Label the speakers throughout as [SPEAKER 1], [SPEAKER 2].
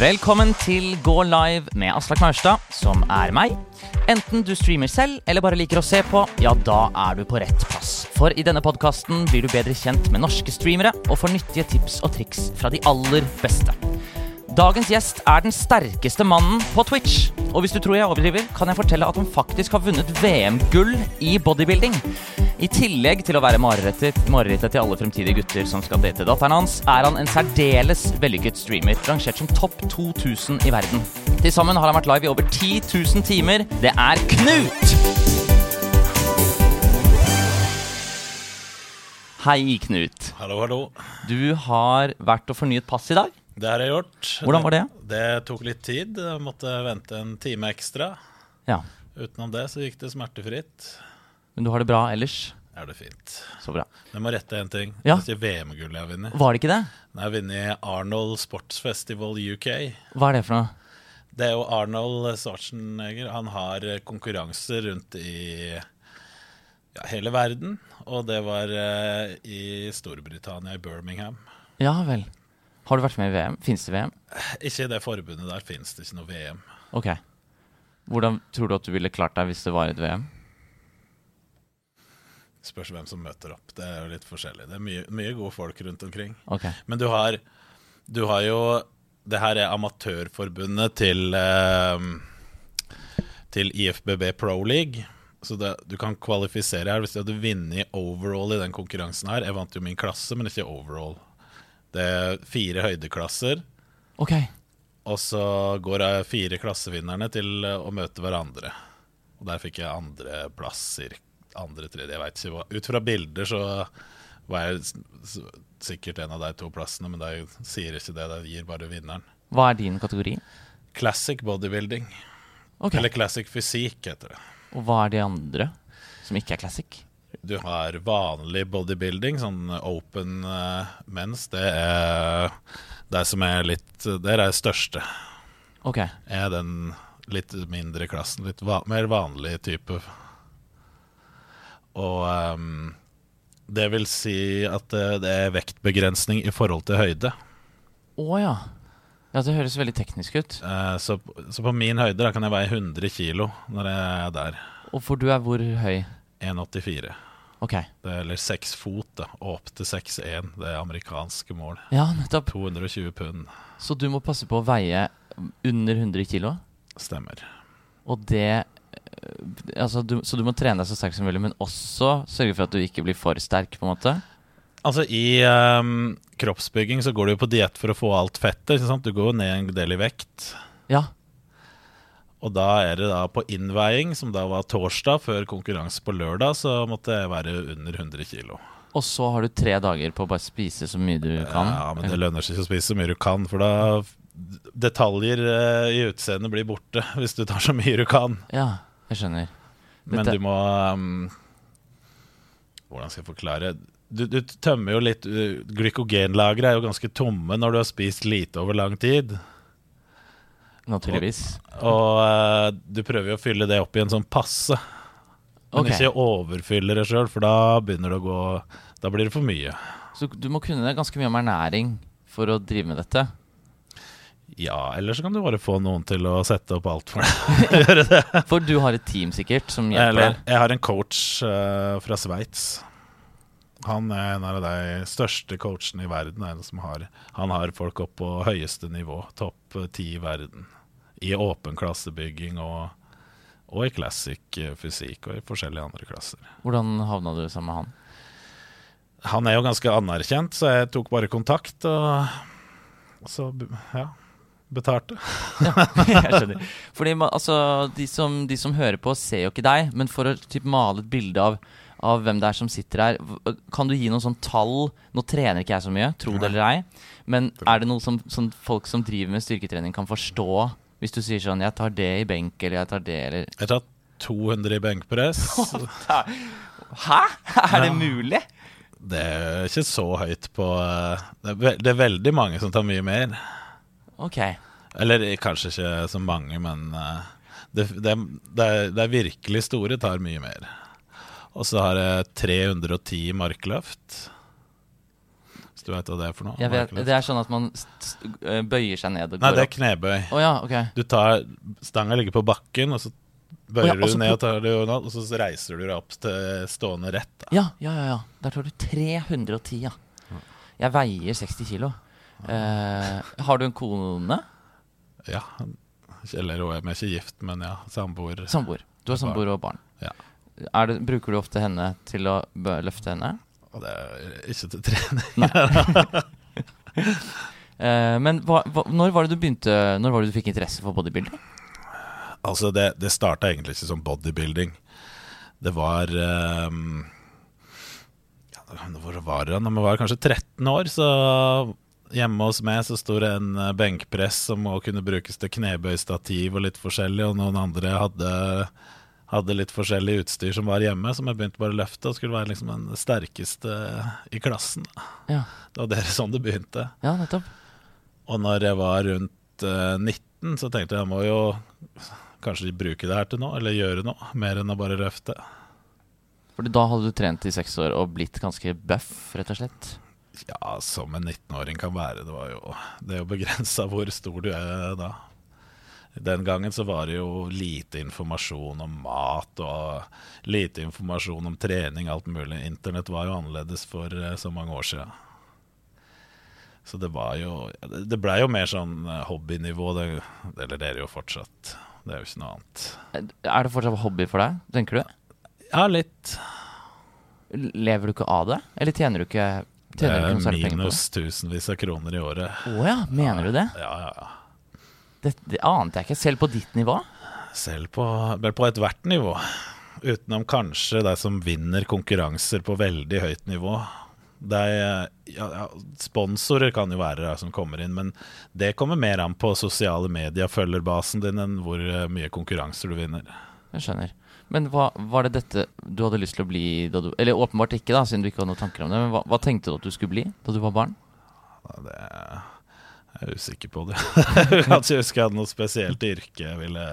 [SPEAKER 1] Velkommen til Gå live med Aslak Maurstad, som er meg. Enten du streamer selv eller bare liker å se på, ja, da er du på rett plass. For i denne podkasten blir du bedre kjent med norske streamere og får nyttige tips og triks fra de aller beste. Dagens gjest er den sterkeste mannen på Twitch. Og hvis du tror jeg overdriver, kan jeg fortelle at han faktisk har vunnet VM-gull i bodybuilding. I tillegg til å være marerittet, marerittet til alle fremtidige gutter som skal date datteren hans, er han en særdeles vellykket streamer, rangert som topp 2000 i verden. Til sammen har han vært live i over 10 000 timer. Det er Knut! Hei, Knut.
[SPEAKER 2] Hallo, hallo.
[SPEAKER 1] Du har vært og fornyet pass i dag.
[SPEAKER 2] Det har jeg gjort.
[SPEAKER 1] Hvordan var det?
[SPEAKER 2] Det tok litt tid. Jeg måtte vente en time ekstra.
[SPEAKER 1] Ja,
[SPEAKER 2] Utenom det så gikk det smertefritt.
[SPEAKER 1] Men du har det bra ellers?
[SPEAKER 2] Er det fint.
[SPEAKER 1] Så bra.
[SPEAKER 2] Jeg må rette en ting.
[SPEAKER 1] Ja.
[SPEAKER 2] Det er VM-gullet jeg har vunnet.
[SPEAKER 1] Var det ikke det?
[SPEAKER 2] Jeg har vunnet Arnold Sports Festival UK.
[SPEAKER 1] Hva er det for noe?
[SPEAKER 2] Det er jo Arnold Schwarzenegger. Han har konkurranser rundt i ja, hele verden. Og det var eh, i Storbritannia, i Birmingham.
[SPEAKER 1] Ja vel. Har du vært med i VM? Fins det VM?
[SPEAKER 2] Ikke i det forbundet der fins det ikke noe VM.
[SPEAKER 1] Ok. Hvordan tror du at du ville klart deg hvis det var et VM?
[SPEAKER 2] Spørs hvem som møter opp. Det er jo litt forskjellig. Det er mye, mye gode folk rundt omkring.
[SPEAKER 1] Ok.
[SPEAKER 2] Men du har, du har jo Det her er amatørforbundet til eh, Til IFBB Pro League. Så det, du kan kvalifisere her hvis du hadde vunnet overall i den konkurransen her. Jeg vant jo min klasse, men ikke overall. Det er fire høydeklasser,
[SPEAKER 1] Ok.
[SPEAKER 2] og så går jeg fire klassevinnerne til eh, å møte hverandre. Og der fikk jeg andreplass, cirk- andre, tredje, jeg veit ikke hva. Ut fra bilder så var jeg s- s- sikkert en av de to plassene, men de sier ikke det, de gir bare vinneren.
[SPEAKER 1] Hva er din kategori?
[SPEAKER 2] Classic bodybuilding,
[SPEAKER 1] Ok.
[SPEAKER 2] eller classic fysikk heter det.
[SPEAKER 1] Og hva er de andre som ikke er classic?
[SPEAKER 2] Du har vanlig bodybuilding, sånn open eh, mens, det er de som er litt Der er jeg største.
[SPEAKER 1] Ok.
[SPEAKER 2] er den litt mindre klassen, litt va mer vanlig type. Og ehm, det vil si at eh, det er vektbegrensning i forhold til høyde.
[SPEAKER 1] Å ja. Ja, det høres veldig teknisk ut.
[SPEAKER 2] Eh, så, så på min høyde da kan jeg veie 100 kilo når jeg er der.
[SPEAKER 1] Og for du er hvor høy?
[SPEAKER 2] 1,84.
[SPEAKER 1] Ok.
[SPEAKER 2] Det er- Eller seks fot, da. Og opp til 6,1. Det er amerikanske mål.
[SPEAKER 1] Ja, nettopp.
[SPEAKER 2] 220 pund.
[SPEAKER 1] Så du må passe på å veie under 100 kilo?
[SPEAKER 2] Stemmer.
[SPEAKER 1] Og det eh, altså du, Så du må trene deg så sterk som mulig, men også sørge for at du ikke blir for sterk. på en måte
[SPEAKER 2] Altså I ehm, kroppsbygging så går du jo på diett for å få alt fettet. ikke sant? Du går jo ned en del i vekt.
[SPEAKER 1] Ja,
[SPEAKER 2] Og da er det da på innveiing, som da var torsdag før konkurranse på lørdag, så måtte jeg være under 100 kilo.
[SPEAKER 1] Og så har du tre dager på å bare spise så mye du kan.
[SPEAKER 2] Ja, men det lønner seg ikke å spise så mye du kan, for da detaljer eh, i utseendet blir borte hvis du tar så mye du kan.
[SPEAKER 1] Ja, jeg skjønner.
[SPEAKER 2] Men
[SPEAKER 1] Dette-
[SPEAKER 2] du må ehm, Hvordan skal jeg forklare? Du, du tømmer jo litt eh, Glykogenlagre er jo ganske tomme når du har spist lite over lang tid.
[SPEAKER 1] Naturligvis.
[SPEAKER 2] Og eh, du prøver jo å fylle det opp i en sånn passe. Men
[SPEAKER 1] Ok.
[SPEAKER 2] ikke overfylle det sjøl, for da begynner det å gå Da blir det for mye.
[SPEAKER 1] Så du må kunne ganske mye om ernæring for å drive med dette.
[SPEAKER 2] Ja, eller så kan du bare få noen til å sette opp alt for deg.
[SPEAKER 1] For du har et team sikkert som hjelper
[SPEAKER 2] Eller,
[SPEAKER 1] deg.
[SPEAKER 2] jeg har en coach eh, fra Sveits. Han er en av de største coachene i verden. er En som har, han har folk opp på høyeste nivå, topp eh, ti i verden. I åpen klassebygging og, og i classic eh, fysikk og i forskjellige andre klasser.
[SPEAKER 1] Hvordan havna du sammen med han?
[SPEAKER 2] Han er jo ganske anerkjent, så jeg tok bare kontakt og og så b- ja, betalte.
[SPEAKER 1] Jeg skjønner. Fordi ma- altså, de som, de som hører på, ser jo ikke deg, men for å typ, male et bilde av, av hvem det er som sitter her, v- kan du gi noen sånn tall? Nå trener ikke jeg så mye, tro det eller ei, men er det noe som, som folk som driver med styrketrening kan forstå? Hvis du sier sånn 'jeg tar det i benk', eller 'jeg tar det', eller
[SPEAKER 2] Jeg har tatt 200 i benkpress.
[SPEAKER 1] Hæ?! Er det mulig?!
[SPEAKER 2] Det er ikke så høyt på eh, Det er, ve det er veldig mange som tar mye mer.
[SPEAKER 1] Ok.
[SPEAKER 2] Eller eh, kanskje ikke så mange, men eh, det, det, det, er, det er virkelig store tar mye mer. Og så har jeg 310 markløft. Så hvis du vet hva det er for noe.
[SPEAKER 1] Jeg
[SPEAKER 2] Har jeg
[SPEAKER 1] vet,
[SPEAKER 2] ikke lest.
[SPEAKER 1] det er sånn at man s- s- øh, bøyer seg ned og
[SPEAKER 2] Nei,
[SPEAKER 1] går
[SPEAKER 2] det er
[SPEAKER 1] opp.
[SPEAKER 2] knebøy.
[SPEAKER 1] Å ja, ok.
[SPEAKER 2] Du tar Stanga ligger på bakken, og så
[SPEAKER 1] Å
[SPEAKER 2] bøyer
[SPEAKER 1] ja, og så
[SPEAKER 2] du ned
[SPEAKER 1] pl-
[SPEAKER 2] og tar det jo nå, og så reiser du deg opp til stående rett. Da.
[SPEAKER 1] Ja, ja, ja. ja. Der tar du 310, ja. Jeg veier 60 kilo. Eh, har du en kone?
[SPEAKER 2] Ja. Eller hun er vi er ikke gift, men ja, samboer.
[SPEAKER 1] Samboer. Du har samboer og barn.
[SPEAKER 2] Ja.
[SPEAKER 1] Er det, bruker du ofte henne til å bø- løfte henne?
[SPEAKER 2] Og det er ikke til trening.
[SPEAKER 1] Eh, men hva, hva, når var det du begynte Når var det du fikk interesse for bodybuilding?
[SPEAKER 2] Altså, det, det starta egentlig ikke som bodybuilding. Det var ehm, ja, Hvor var det? da? Når vi var kanskje 13 år, så hjemme hos meg så sto det en eh, benkpress som også kunne brukes til knebøystativ og litt forskjellig, og noen andre hadde hadde litt forskjellig utstyr som var hjemme, som jeg begynte bare å løfte og skulle være liksom den sterkeste eh, i klassen.
[SPEAKER 1] Ja.
[SPEAKER 2] Det var det sånn det begynte.
[SPEAKER 1] ja, nettopp.
[SPEAKER 2] Og når jeg var rundt eh, 19, så tenkte jeg jeg må jo kanskje bruke det her til noe, eller gjøre noe, mer enn å bare løfte.
[SPEAKER 1] Fordi da hadde du trent i seks år og blitt ganske buff, rett og slett.
[SPEAKER 2] Ja, som en 19-åring kan være. Det var jo det er jo begrensa hvor stor du er da. Den gangen så var det jo lite informasjon om mat og lite informasjon om trening, alt mulig. Internett var jo annerledes for eh, så mange år siden. Så det var jo ja, Det det ble jo mer sånn eh, hobbynivå. Det, eller det er det jo fortsatt. Det er jo ikke noe annet.
[SPEAKER 1] Eh, Er det fortsatt hobby for deg, tenker du?
[SPEAKER 2] Ja, litt.
[SPEAKER 1] Lever du ikke av det? Eller tjener du ikke
[SPEAKER 2] Det
[SPEAKER 1] Tjener du
[SPEAKER 2] er
[SPEAKER 1] ikke noe særlig penger på det?
[SPEAKER 2] eh, minus tusenvis av kroner i året.
[SPEAKER 1] Å ja, mener du det?
[SPEAKER 2] Ja, ja, ja.
[SPEAKER 1] det? Det ante jeg ikke. Selv på ditt nivå?
[SPEAKER 2] Selv på, vel på ethvert nivå. Utenom kanskje de som vinner konkurranser på veldig høyt nivå. De, ja, ja, sponsorer kan jo være de som kommer inn, men det kommer mer an på sosiale medier, følgerbasen din, enn hvor eh, mye konkurranser du vinner.
[SPEAKER 1] Jeg skjønner. Men hva var det dette du hadde lyst til å bli da du Eller åpenbart ikke, da, siden du ikke hadde noen tanker om det. Men hva, hva tenkte du at du skulle bli da du var barn?
[SPEAKER 2] Ja, Det jeg er usikker på det. jeg kan ikke huske jeg hadde noe spesielt yrke jeg ville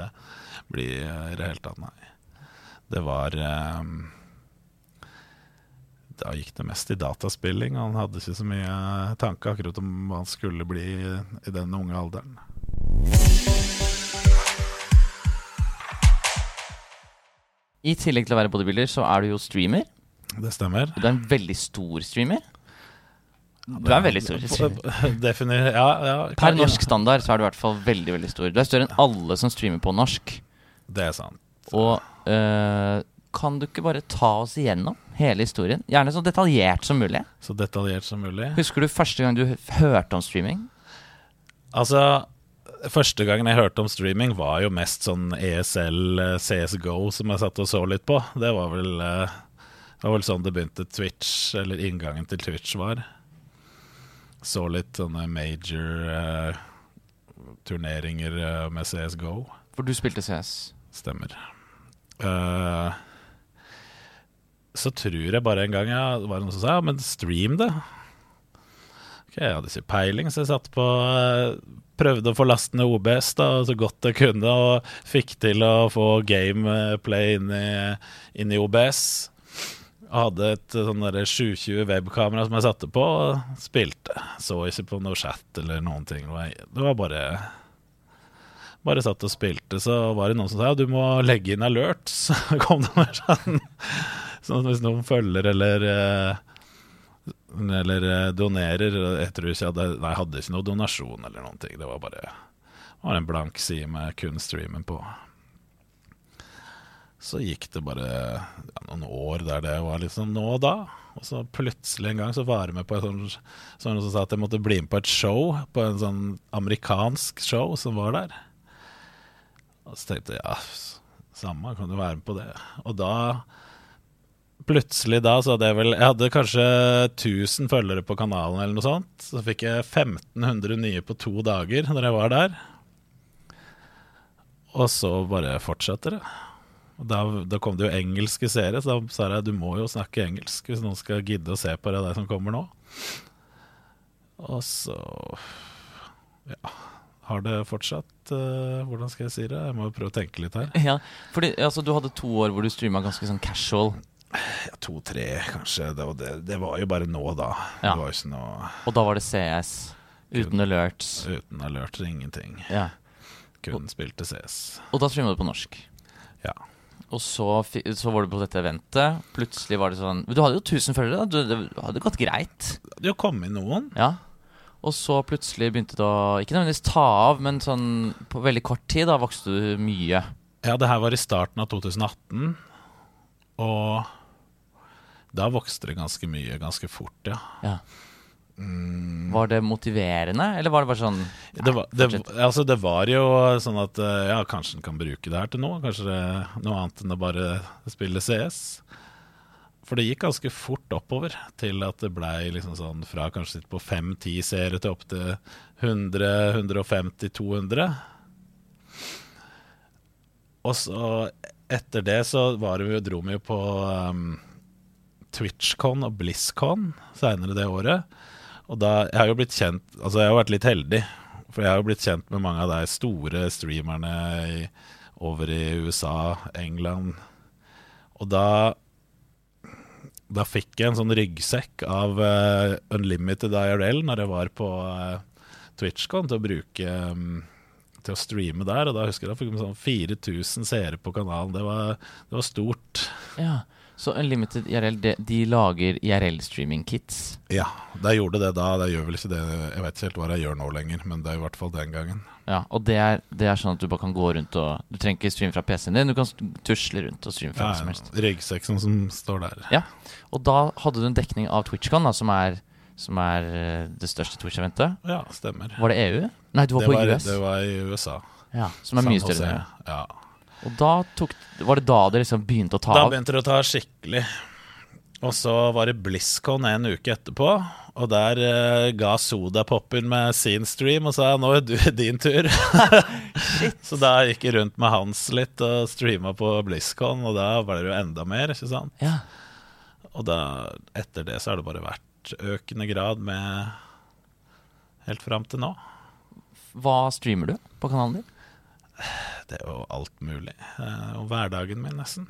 [SPEAKER 2] bli eh, i det hele tatt, nei. Det var eh, Da gikk det mest i dataspilling. og Han hadde ikke så mye tanke akkurat om hva han skulle bli i den unge alderen.
[SPEAKER 1] I tillegg til å være bodybuilder, så er du jo streamer.
[SPEAKER 2] Det stemmer.
[SPEAKER 1] Du er en veldig stor streamer. Du er en veldig stor streamer.
[SPEAKER 2] Definer, ja, ja.
[SPEAKER 1] Per norsk standard så er du i hvert fall veldig veldig stor. Du er større enn alle som streamer på norsk.
[SPEAKER 2] Det er sant.
[SPEAKER 1] Og øh, kan du ikke bare ta oss igjennom hele historien? Gjerne så detaljert som mulig.
[SPEAKER 2] Så detaljert som mulig.
[SPEAKER 1] Husker du første gang du hø- hørte om streaming?
[SPEAKER 2] Altså, første gangen jeg hørte om streaming var jo mest sånn ESL, eh, CSGO som jeg satt og så litt på. Det var vel, eh, det var vel sånn det begynte Twitch, eller inngangen til Twitch var. Så litt sånne major eh, turneringer eh, med CSGO.
[SPEAKER 1] For du spilte CS.
[SPEAKER 2] Stemmer. Eh, så tror jeg bare en gang ja, det var noen som sa ja, men stream det. Ok, Jeg hadde ikke peiling, så jeg satt på eh, Prøvde å få lasten ned OBS da, så godt jeg kunne, og fikk til å få gameplay inn i, inn i OBS. Jeg hadde et eh, sånn derre 720 webkamera som jeg satte på, og spilte. Så ikke på noe chat eller noen ting. Det var- Det var bare bare satt og spilte, så var det noen som sa ja, du må legge inn alert. Så kom det med sånn Sånn at hvis noen følger eller eh, Eller eh, donerer Jeg tror ikke jeg hadde Nei, jeg hadde ikke noe donasjon eller noen ting. Det var bare det var en blank side med kun streamen på. Så gikk det bare ja, noen år der det var liksom nå og da. Og så plutselig en gang så var jeg med på et sånt Så var det noen som sa at jeg måtte bli med på et show, på en sånn amerikansk show som var der. Og så tenkte jeg ja, s- samme, kan du være med på det? Og da Plutselig da så hadde jeg vel Jeg hadde kanskje 1000 følgere på kanalen eller noe sånt. Så fikk jeg 1500 nye på to dager når jeg var der. Og så bare fortsetter det. Og da, da kom det jo engelske seere, så da sa jeg du må jo snakke engelsk hvis noen skal gidde å se på det, det som kommer nå. Og så har det fortsatt eh, Hvordan skal jeg si det? Jeg må jo prøve å tenke litt her.
[SPEAKER 1] Ja, fordi altså, du hadde to år hvor du streama ganske sånn casual.
[SPEAKER 2] to-tre, kanskje. Det, og det, det var jo bare nå, da.
[SPEAKER 1] Ja.
[SPEAKER 2] Det var jo ikke noe
[SPEAKER 1] Og da var det CS. Uten alerts.
[SPEAKER 2] uten alert, ingenting.
[SPEAKER 1] Ja.
[SPEAKER 2] Kun spilte CS.
[SPEAKER 1] Og da streama du på norsk.
[SPEAKER 2] Ja.
[SPEAKER 1] Og så, fi- så var du på dette eventet. Plutselig var det sånn Du hadde jo 1000 følgere. da. Du, det hadde gått greit.
[SPEAKER 2] Det kom inn noen.
[SPEAKER 1] Ja. Og så plutselig begynte det å Ikke nødvendigvis ta av, men sånn på veldig kort tid da vokste du mye.
[SPEAKER 2] Ja, det her var i starten av 2018, og da vokste det ganske mye, ganske fort, ja.
[SPEAKER 1] Ja. Var det motiverende, eller var det bare sånn
[SPEAKER 2] Det var, det, altså, det var jo sånn at eh, ja, kanskje en kan bruke det her til noe, kanskje det, noe annet enn å bare spille CS. For det gikk ganske fort oppover til at det blei liksom sånn fra kanskje litt på 5-10 seere til opp til 100, 150, 200. Og så etter det så var vi, jo- dro vi jo på um, TwitchCon og BlizzCon seinere det året. Og da, jeg har jo blitt kjent Altså jeg har vært litt heldig For jeg har jo blitt kjent med mange av de store streamerne i, Over i USA, England Og da Da fikk jeg en sånn ryggsekk Av eh, Unlimited IRL Når jeg var på eh, TwitchCon Til å bruke mm, Til å streame der Og da husker jeg da fikk jeg sånn 4000 seere på kanalen Det var, det var stort
[SPEAKER 1] Ja. Så Unlimited IRL, de, de lager IRL-streaming-kits.
[SPEAKER 2] Ja, det gjorde det da Det gjør vel ikke det Jeg vet ikke helt hva jeg gjør nå lenger Men det er i hvert fall den gangen
[SPEAKER 1] Ja, og det er, det er sånn at du bare kan gå rundt og Du trenger ikke streame fra PC-en din, du kan s- tusle rundt og streame fra hva som helst.
[SPEAKER 2] Ryggsekken som står der.
[SPEAKER 1] Ja, Og da hadde du en dekning av TwitchCon, da, som er, som er eh, det største Twitch-eventet.
[SPEAKER 2] Ja, stemmer.
[SPEAKER 1] Var det EU? Nei, du var
[SPEAKER 2] Det
[SPEAKER 1] på
[SPEAKER 2] var,
[SPEAKER 1] US.
[SPEAKER 2] det var i USA.
[SPEAKER 1] ja, som er mye
[SPEAKER 2] San Jose.
[SPEAKER 1] større. enn EU.
[SPEAKER 2] Ja.
[SPEAKER 1] Og da tok Var det da det liksom begynte å ta
[SPEAKER 2] Da
[SPEAKER 1] av?
[SPEAKER 2] begynte det å ta skikkelig. Og så var det BlizzCon en uke etterpå, og der eh, ga Sodapoppen med sin stream og sa nå er du din tur. så da gikk jeg rundt med Hans litt og streama på BlizzCon, og da var det jo enda mer, ikke sant.
[SPEAKER 1] Ja.
[SPEAKER 2] Og da, etter det så har det bare vært økende grad med Helt fram til nå.
[SPEAKER 1] Hva streamer du på kanalen din?
[SPEAKER 2] Det er jo alt mulig. eh, Og hverdagen min, nesten.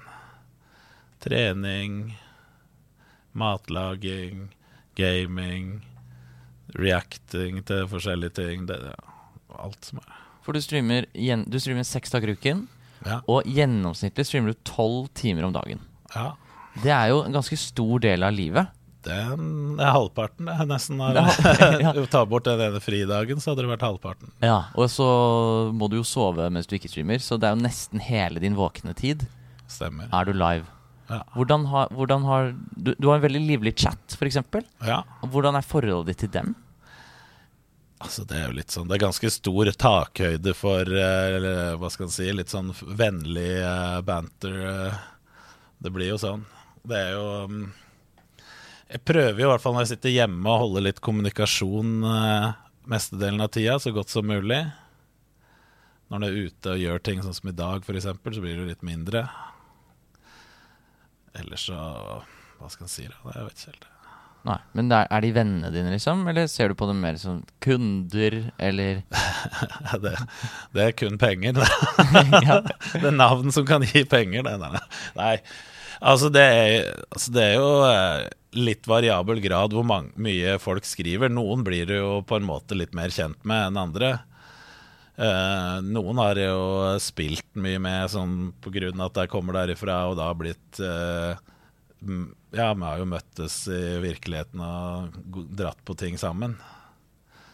[SPEAKER 2] Trening, matlaging, gaming, reacting til forskjellige ting. Det er alt som er
[SPEAKER 1] For du streamer, gjen- du streamer seks dager i uken,
[SPEAKER 2] Ja.
[SPEAKER 1] og gjennomsnittlig streamer du tolv timer om dagen.
[SPEAKER 2] ja.
[SPEAKER 1] Det er jo en ganske stor del av livet.
[SPEAKER 2] Det er en- det er halvparten, det. Nesten. Av,
[SPEAKER 1] Det er halvparten,
[SPEAKER 2] Ta bort den ene fridagen, så hadde det vært halvparten.
[SPEAKER 1] Ja, Og så må du jo sove mens du ikke streamer, så det er jo nesten hele din våkne tid
[SPEAKER 2] Stemmer.
[SPEAKER 1] er du live.
[SPEAKER 2] Ja.
[SPEAKER 1] Hvordan har, hvordan har du, du har en veldig livlig chat, f.eks.
[SPEAKER 2] ja.
[SPEAKER 1] Hvordan er forholdet ditt til dem?
[SPEAKER 2] Altså, det er jo litt sånn Det er ganske stor takhøyde for eh, eller, Hva skal en si Litt sånn f- vennlig eh, banter. eh. Det blir jo sånn. Det er jo mm, Jeg prøver jo i hvert fall når jeg sitter hjemme, å holde litt kommunikasjon eh, mestedelen av tida, så godt som mulig. Når du er ute og gjør ting, sånn som i dag f.eks., så blir det jo litt mindre. Ellers så Hva skal en si, da? Jeg vet ikke helt.
[SPEAKER 1] Nei, men det er, er de vennene dine, liksom? Eller ser du på dem mer som kunder, eller
[SPEAKER 2] Det, det er kun penger.
[SPEAKER 1] ja.
[SPEAKER 2] Det er navn som kan gi penger, det der. Nei, altså det er, altså det er jo eh, litt variabel grad hvor mang- mye folk skriver. Noen blir du jo på en måte litt mer kjent med enn andre. Eh, noen har jeg jo spilt mye med sånn på grunn av at jeg kommer derifra, og da har blitt eh, m- Ja, vi har jo møttes i virkeligheten og go- dratt på ting sammen.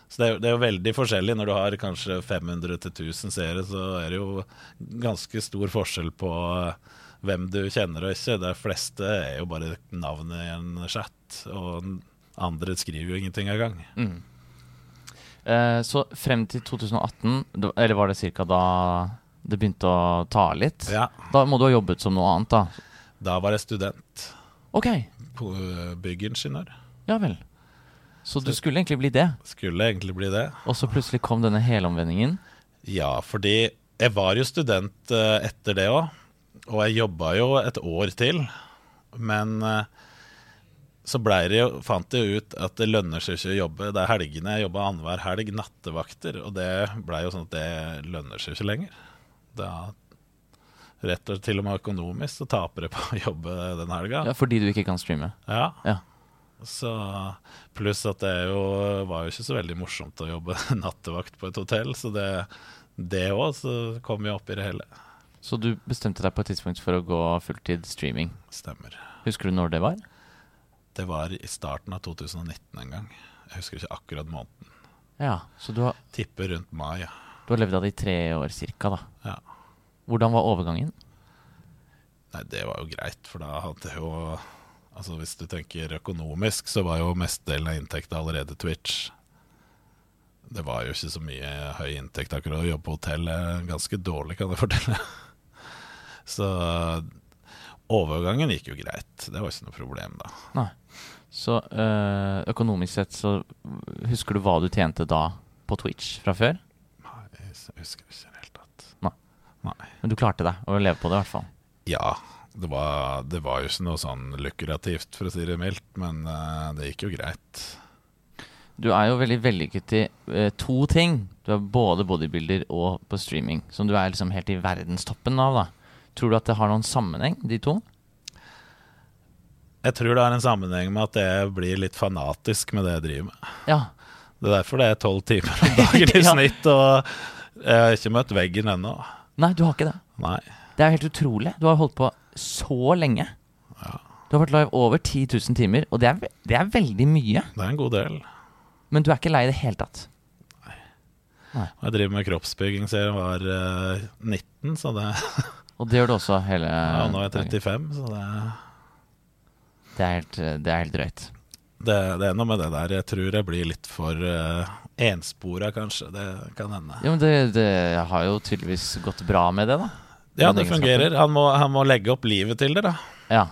[SPEAKER 2] Så det er, jo- det er jo veldig forskjellig. Når du har kanskje 500 til 1000 seere, så er det jo ganske stor forskjell på eh, hvem du kjenner og ikke. De fleste er jo bare navnet i en chat, og n- andre skriver jo ingenting engang.
[SPEAKER 1] mm. Eh, Så frem til 2018, det- eller var det ca. da det begynte å ta litt?
[SPEAKER 2] Ja,
[SPEAKER 1] Da må du ha jobbet som noe annet, da.
[SPEAKER 2] da var jeg student,
[SPEAKER 1] Ok,
[SPEAKER 2] på eh, byggingeniør.
[SPEAKER 1] ja vel. Så du skulle egentlig bli det,
[SPEAKER 2] Skulle egentlig bli det.
[SPEAKER 1] og så plutselig kom denne helomvendingen.
[SPEAKER 2] Ja, fordi jeg var jo student eh, etter det òg, og jeg jobba jo et år til. Men eh, så ble det jo, fant jeg jo ut at det lønner seg ikke å jobbe. Det er helgene jeg jobba annenhver helg, nattevakter, og det blei jo sånn at det lønner seg ikke lenger. Da rett og til og med økonomisk, så taper det på å jobbe den helga.
[SPEAKER 1] Ja, fordi du ikke kan streame.
[SPEAKER 2] Ja.
[SPEAKER 1] Ja.
[SPEAKER 2] Så, pluss at det er jo, var jo ikke så veldig morsomt å jobbe nattevakt på et hotell, så det det òg, så kom vi opp i det hele.
[SPEAKER 1] Så du bestemte deg på et tidspunkt for å gå fulltid streaming.
[SPEAKER 2] Stemmer.
[SPEAKER 1] Husker du når det var?
[SPEAKER 2] Det var i starten av 2019 en gang. Jeg husker ikke akkurat måneden.
[SPEAKER 1] Ja, Så du har,
[SPEAKER 2] Tipper rundt mai. ja.
[SPEAKER 1] du har levd av det i tre år cirka, da.
[SPEAKER 2] Ja.
[SPEAKER 1] Hvordan var overgangen?
[SPEAKER 2] Nei, det var jo greit, for da hadde jo Altså hvis du tenker økonomisk, så var jo mestedelen av inntekta allerede Twitch. Det var jo ikke så mye høy inntekt akkurat. Å jobbe på hotell er ganske dårlig, kan jeg fortelle. Så overgangen gikk jo greit. Det var ikke noe problem, da.
[SPEAKER 1] Så øh, økonomisk sett så husker du hva du tjente da på Twitch fra før?
[SPEAKER 2] Nei, jeg husker ikke i det hele tatt.
[SPEAKER 1] Men du klarte deg å leve på det i hvert fall.
[SPEAKER 2] Ja, det var, det var jo ikke noe sånn lukrativt, for å si det mildt, men eh, det gikk jo greit.
[SPEAKER 1] Du er jo veldig vellykket i eh, to ting. Du er både bodybuilder og på streaming, som du er liksom helt i verdenstoppen av. da. Tror du at det har noen sammenheng, de to?
[SPEAKER 2] Jeg tror det har en sammenheng med at jeg blir litt fanatisk med det jeg driver med.
[SPEAKER 1] Ja.
[SPEAKER 2] Det er derfor det er tolv timer om dagen i
[SPEAKER 1] Ja.
[SPEAKER 2] snitt, og jeg har ikke møtt veggen ennå.
[SPEAKER 1] Nei, du har ikke det.
[SPEAKER 2] Nei.
[SPEAKER 1] Det er helt utrolig. Du har holdt på så lenge. Du har vært live over 10 000 timer, og det er, ve- det er veldig mye.
[SPEAKER 2] Det er en god del.
[SPEAKER 1] Men du er ikke lei i det hele tatt.
[SPEAKER 2] Og Jeg driver med kroppsbygging siden jeg var eh, 19, så det,
[SPEAKER 1] Og det gjør du også hele
[SPEAKER 2] ja, nå er jeg
[SPEAKER 1] dagen.
[SPEAKER 2] 35, så det,
[SPEAKER 1] Det er helt, eh, det er helt drøyt.
[SPEAKER 2] det, det er noe med det der. Jeg tror jeg blir litt for uh, enspora, kanskje. Det kan hende.
[SPEAKER 1] Jo, men det, det har jo tydeligvis gått bra med det, da.
[SPEAKER 2] Ja,
[SPEAKER 1] den
[SPEAKER 2] det
[SPEAKER 1] egenskapen.
[SPEAKER 2] fungerer. Han må, han må legge opp livet til det, da.
[SPEAKER 1] Ja.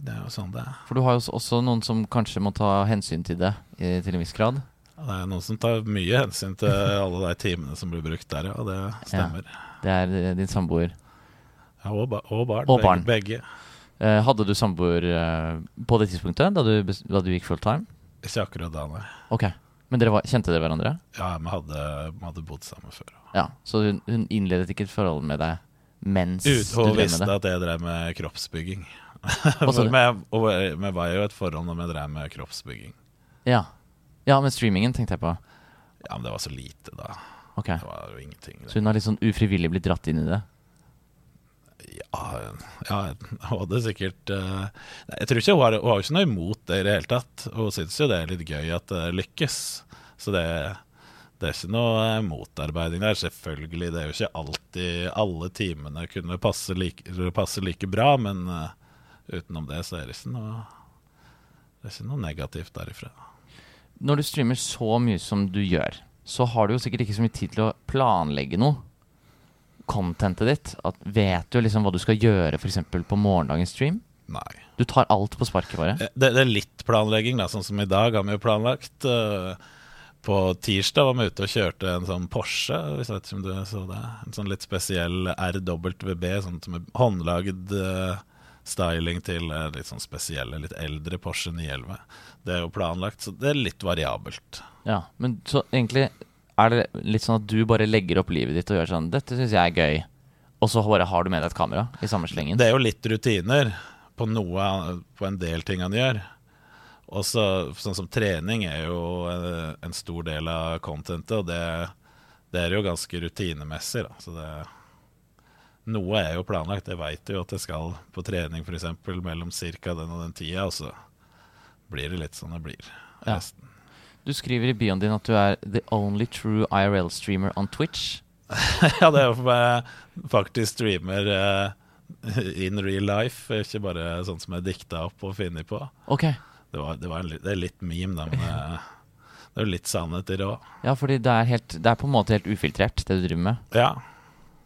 [SPEAKER 2] Det er jo sånn det er.
[SPEAKER 1] For du har jo s- også noen som kanskje må ta hensyn til det i, til en viss grad.
[SPEAKER 2] Det er noen som tar mye hensyn til alle de timene som blir brukt der, ja. og Det stemmer.
[SPEAKER 1] Det er eh, din samboer.
[SPEAKER 2] Ja, og, ba og barn.
[SPEAKER 1] Og barn.
[SPEAKER 2] Begge,
[SPEAKER 1] Eh, hadde du samboer eh, på det tidspunktet, da du, bes- da du gikk full time?
[SPEAKER 2] begge. Ikke akkurat da, nei.
[SPEAKER 1] Ok. Men dere var, kjente dere hverandre?
[SPEAKER 2] Ja, vi hadde, vi hadde bodd sammen før. altså.
[SPEAKER 1] Ja. Så hun, hun innledet ikke et forhold med deg mens
[SPEAKER 2] Ut,
[SPEAKER 1] du
[SPEAKER 2] hun
[SPEAKER 1] drev med
[SPEAKER 2] visste
[SPEAKER 1] det?
[SPEAKER 2] at jeg drev med kroppsbygging.
[SPEAKER 1] Hva sa du?
[SPEAKER 2] For vi, og vi var jo i et forhold når vi drev med kroppsbygging.
[SPEAKER 1] Ja. ja, men streamingen tenkte jeg på.
[SPEAKER 2] Ja, Men det var så lite da.
[SPEAKER 1] Ok.
[SPEAKER 2] Det var jo ingenting.
[SPEAKER 1] Så hun har litt sånn ufrivillig blitt dratt inn i det?
[SPEAKER 2] Ah, Ja, ja jeg hadde sikkert eh, nei, Jeg tror ikke hun har, hun har jo ikke noe imot det i det hele tatt. Hun syns jo det er litt gøy at det lykkes. Så det, det er ikke noe eh, motarbeiding der. Selvfølgelig, det er jo ikke alltid alle timene kunne passe like, passe like bra, men eh, utenom det så er det ikke noe det er ikke noe negativt derifra.
[SPEAKER 1] Når du streamer så mye som du gjør, så har du jo sikkert ikke så mye tid til å planlegge noe. Contentet ditt. At vet du liksom hva du skal gjøre f.eks. på morgendagens stream?
[SPEAKER 2] Nei.
[SPEAKER 1] Du tar alt på sparket, bare.
[SPEAKER 2] Eh, Det, det er litt planlegging, da. Sånn som i dag har vi jo planlagt. eh, På tirsdag var vi ute og kjørte en sånn Porsche, hvis jeg vet ikke om du så det. En sånn litt spesiell RWB, sånn som er håndlagd eh, styling til eh, litt sånn spesielle, litt eldre Porsche 911. Det er jo planlagt, så det er litt variabelt.
[SPEAKER 1] Ja, Men så egentlig er det litt sånn at du bare legger opp livet ditt og gjør sånn 'Dette syns jeg er gøy', og så bare har du med deg et kamera i samme slengen.
[SPEAKER 2] Det er jo litt rutiner på, noe, han- på en del ting han gjør. Og så- sånn som trening er jo eh, en stor del av contentet, og det, det er jo ganske rutinemessig. Da. Så det, noe er jo planlagt. Jeg veit jo at jeg skal på trening f.eks. mellom ca. den og den tida, og så blir det litt sånn det blir.
[SPEAKER 1] Ja.
[SPEAKER 2] resten.
[SPEAKER 1] Du skriver i bioen din at du er 'the only true IRL streamer on Twitch'.
[SPEAKER 2] Ja, det er jo for meg faktisk streamer eh, in real life, ikke bare sånn som er dikta opp og funnet på.
[SPEAKER 1] Ok.
[SPEAKER 2] Det, var, det, var en, li- det er litt meme, da, men eh, det er jo litt sannhet i det òg.
[SPEAKER 1] Ja, fordi det er, helt, det er på en måte helt ufiltrert, det du driver med.
[SPEAKER 2] Ja,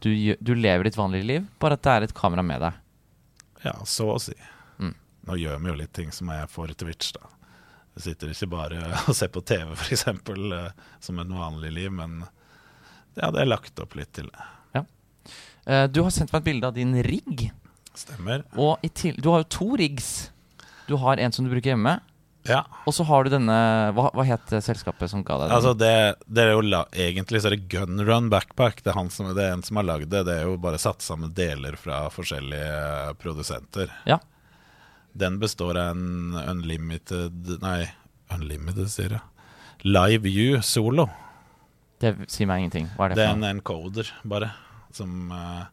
[SPEAKER 1] Du, gjø- du lever ditt vanlige liv, bare at det er et kamera med deg.
[SPEAKER 2] ja, så å si.
[SPEAKER 1] Mm.
[SPEAKER 2] Nå gjør vi jo litt ting som er for Twitch, da. Vi sitter ikke bare og ser på TV, f.eks., eh, som et vanlig liv, men ja, det er lagt opp litt til det.
[SPEAKER 1] Eh, du har sendt meg et bilde av din rigg.
[SPEAKER 2] Stemmer.
[SPEAKER 1] Og i til, du har jo to riggs. Du har en som du bruker hjemme,
[SPEAKER 2] Ja.
[SPEAKER 1] Og så har du denne Hva, hva het eh, selskapet som ga deg den?
[SPEAKER 2] Altså det, det er jo la, egentlig så er det Gun Run Backpack. Det er, han som, det er en som har lagd det. Det er jo bare satt sammen deler fra forskjellige produsenter.
[SPEAKER 1] Ja.
[SPEAKER 2] Den består av en unlimited Nei, unlimited, sier jeg. Live View Solo.
[SPEAKER 1] Det sier meg ingenting. Hva er
[SPEAKER 2] Det
[SPEAKER 1] det
[SPEAKER 2] er
[SPEAKER 1] for
[SPEAKER 2] en
[SPEAKER 1] noe?
[SPEAKER 2] encoder, bare, som eh,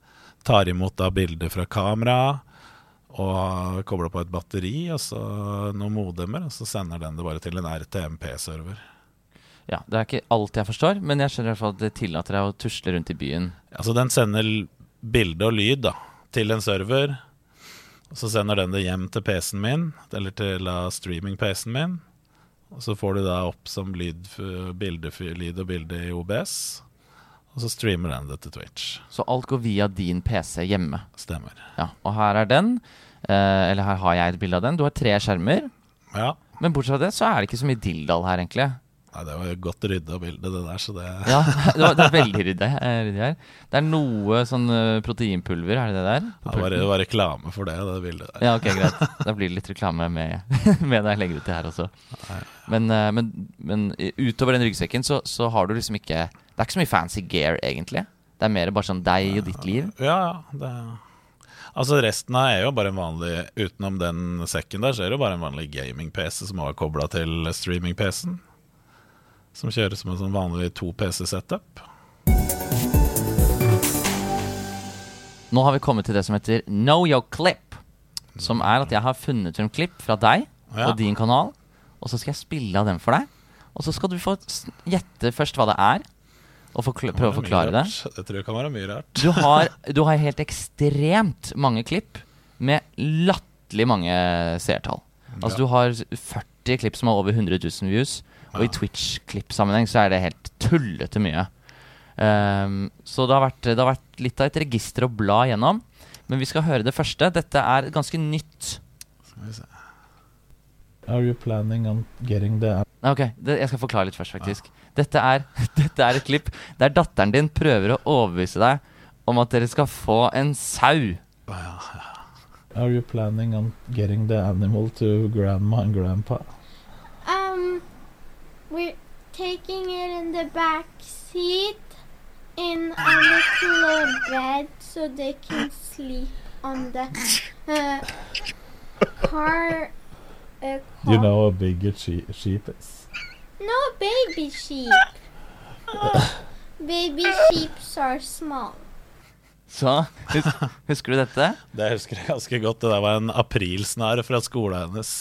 [SPEAKER 2] tar imot da bilder fra kamera og kobler på et batteri og så noen modemer, og så sender den det bare til en RTMP-server.
[SPEAKER 1] Ja, det er ikke alt jeg forstår, men jeg skjønner i hvert fall at det tillater deg å tusle rundt i byen.
[SPEAKER 2] Altså den sender l- bilde og lyd da, til en server, og så sender den det hjem til PC-en min, eller til da streaming-PC-en min, og så får du da opp som lyd, f- bilde, f- lyd og bilde i OBS, og så streamer den det til Twitch.
[SPEAKER 1] Så alt går via din PC hjemme.
[SPEAKER 2] Stemmer.
[SPEAKER 1] Ja, Og her er den. Eh, eller her har jeg et bilde av den. Du har tre skjermer.
[SPEAKER 2] Ja.
[SPEAKER 1] Men bortsett fra det så er det ikke så mye dilldall her, egentlig.
[SPEAKER 2] Nei, det var jo godt rydda bilde, det der, så det
[SPEAKER 1] Ja, Det, var, det er veldig ryddig eh, ryddig her. Det er noe sånn eh, proteinpulver, er det det der? På
[SPEAKER 2] det var, det
[SPEAKER 1] pulten?
[SPEAKER 2] var reklame for det, det bildet der.
[SPEAKER 1] Ja, ok, greit. Da blir det litt reklame med, med det jeg legger ut det her også. Men, eh, men, men i- utover den ryggsekken så, så har du liksom ikke Det er ikke så mye fancy gear, egentlig. Det er mer bare sånn deg og ditt liv.
[SPEAKER 2] Ja, ja. Det, altså resten av er jo bare en vanlig Utenom den sekken der, så er det jo bare en vanlig gaming-PC som også er kobla til streaming-PC-en. Som kjøres som en sånn vanlig to PC-setup.
[SPEAKER 1] Nå har vi kommet til det som heter Know your clip. Som er at jeg har funnet frem klipp fra deg
[SPEAKER 2] Ja.
[SPEAKER 1] og din kanal. Og så skal jeg spille av dem for deg. Og så skal du få s- gjette først hva det er, og forkl- prøve å forklare det.
[SPEAKER 2] Jeg tror det kan være mye rart.
[SPEAKER 1] Du har, du har helt ekstremt mange klipp med latterlig mange seertall. Altså
[SPEAKER 2] Ja.
[SPEAKER 1] du har 40 klipp som har over 100 000 views, og
[SPEAKER 2] Ja.
[SPEAKER 1] i Twitch-klippsammenheng så er det helt tullete mye. Ehm, så det har, vært, det har vært litt av et register å bla gjennom. Men vi skal høre det første. Dette er ganske nytt.
[SPEAKER 2] Are you planning on getting the
[SPEAKER 1] Nei, ok, det, Jeg skal forklare litt først, faktisk. Dette, er, dette er et klipp der datteren din prøver å overbevise deg om at dere skal få en sau.
[SPEAKER 3] Are you planning on getting the animal to grandma and grandpa?
[SPEAKER 4] Um, we're taking it in the back seat in a little bed so they can sleep on the uh, car. Uh,
[SPEAKER 3] You
[SPEAKER 4] car-
[SPEAKER 3] know how big a she- sheep is.
[SPEAKER 4] No baby sheep. baby sheeps are small.
[SPEAKER 1] Så hus Husker du dette?
[SPEAKER 2] Det husker jeg ganske godt. Det der var en aprilsnare fra skolen hennes.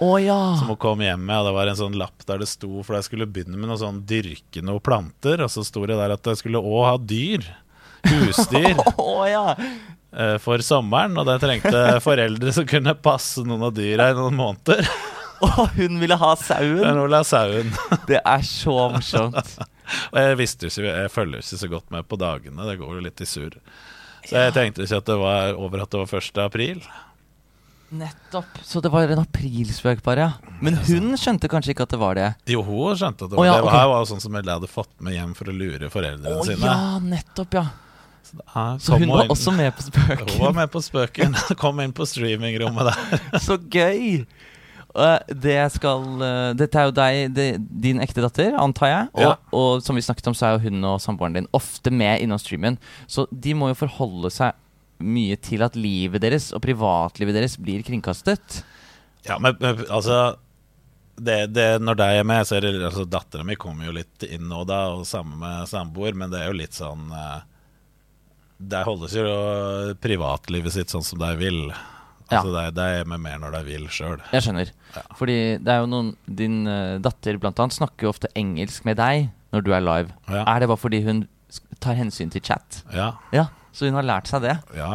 [SPEAKER 1] Å ja!
[SPEAKER 2] Som hun kom hjem med, og det var en sånn lapp der det sto For jeg skulle begynne med noe sånn dyrke noen planter, og så sto det der at jeg skulle òg ha dyr. Husdyr
[SPEAKER 1] ja.
[SPEAKER 2] eh, for sommeren, og det trengte foreldre som kunne passe noen av dyra i noen måneder.
[SPEAKER 1] Å, hun ville ha sauen!
[SPEAKER 2] Men hun la sauen.
[SPEAKER 1] Det er så morsomt.
[SPEAKER 2] Og jeg visste jo ikke, jeg følger jo ikke så godt med på dagene, det går jo litt i surr. Så jeg tenkte ikke at det var over at det var 1. april.
[SPEAKER 1] Nettopp. Så det var en aprilspøk, bare. ja.
[SPEAKER 2] Mm,
[SPEAKER 1] Men hun skjønte kanskje ikke at det var det.
[SPEAKER 2] Jo, hun skjønte at det
[SPEAKER 1] Å
[SPEAKER 2] var
[SPEAKER 1] ja,
[SPEAKER 2] det.
[SPEAKER 1] ok.
[SPEAKER 2] Her var jo sånn som jeg hadde fått med hjem for å lure foreldrene
[SPEAKER 1] Å
[SPEAKER 2] sine.
[SPEAKER 1] ja, nettopp, ja.
[SPEAKER 2] Her
[SPEAKER 1] Så
[SPEAKER 2] kom
[SPEAKER 1] hun var
[SPEAKER 2] inn.
[SPEAKER 1] også med på
[SPEAKER 2] Hun var
[SPEAKER 1] spøken.
[SPEAKER 2] med på spøken. Kom inn på streamingrommet der.
[SPEAKER 1] Så gøy! Eh, Det skal eh, Dette er jo deg, det, din ekte datter, antar jeg. Og,
[SPEAKER 2] Ja.
[SPEAKER 1] og som vi snakket om, så er jo hun og samboeren din ofte med innom streamen. Så de må jo forholde seg mye til at livet deres og privatlivet deres blir kringkastet.
[SPEAKER 2] Ja, men, men altså det, det, Når deg er med, så er det altså, Dattera mi kommer jo litt inn nå, da, og sammen med samboer, men det er jo litt sånn eh, De holdes jo privatlivet sitt sånn som de vil.
[SPEAKER 1] Ja.
[SPEAKER 2] Altså, de, de er med mer når de vil sjøl.
[SPEAKER 1] Jeg skjønner. Fordi det er jo noen Din eh, datter blant annet snakker jo ofte engelsk med deg når du er live.
[SPEAKER 2] Ja.
[SPEAKER 1] Er det bare fordi hun s- tar hensyn til chat?
[SPEAKER 2] Ja,
[SPEAKER 1] Ja, så hun har lært seg det.
[SPEAKER 2] ja.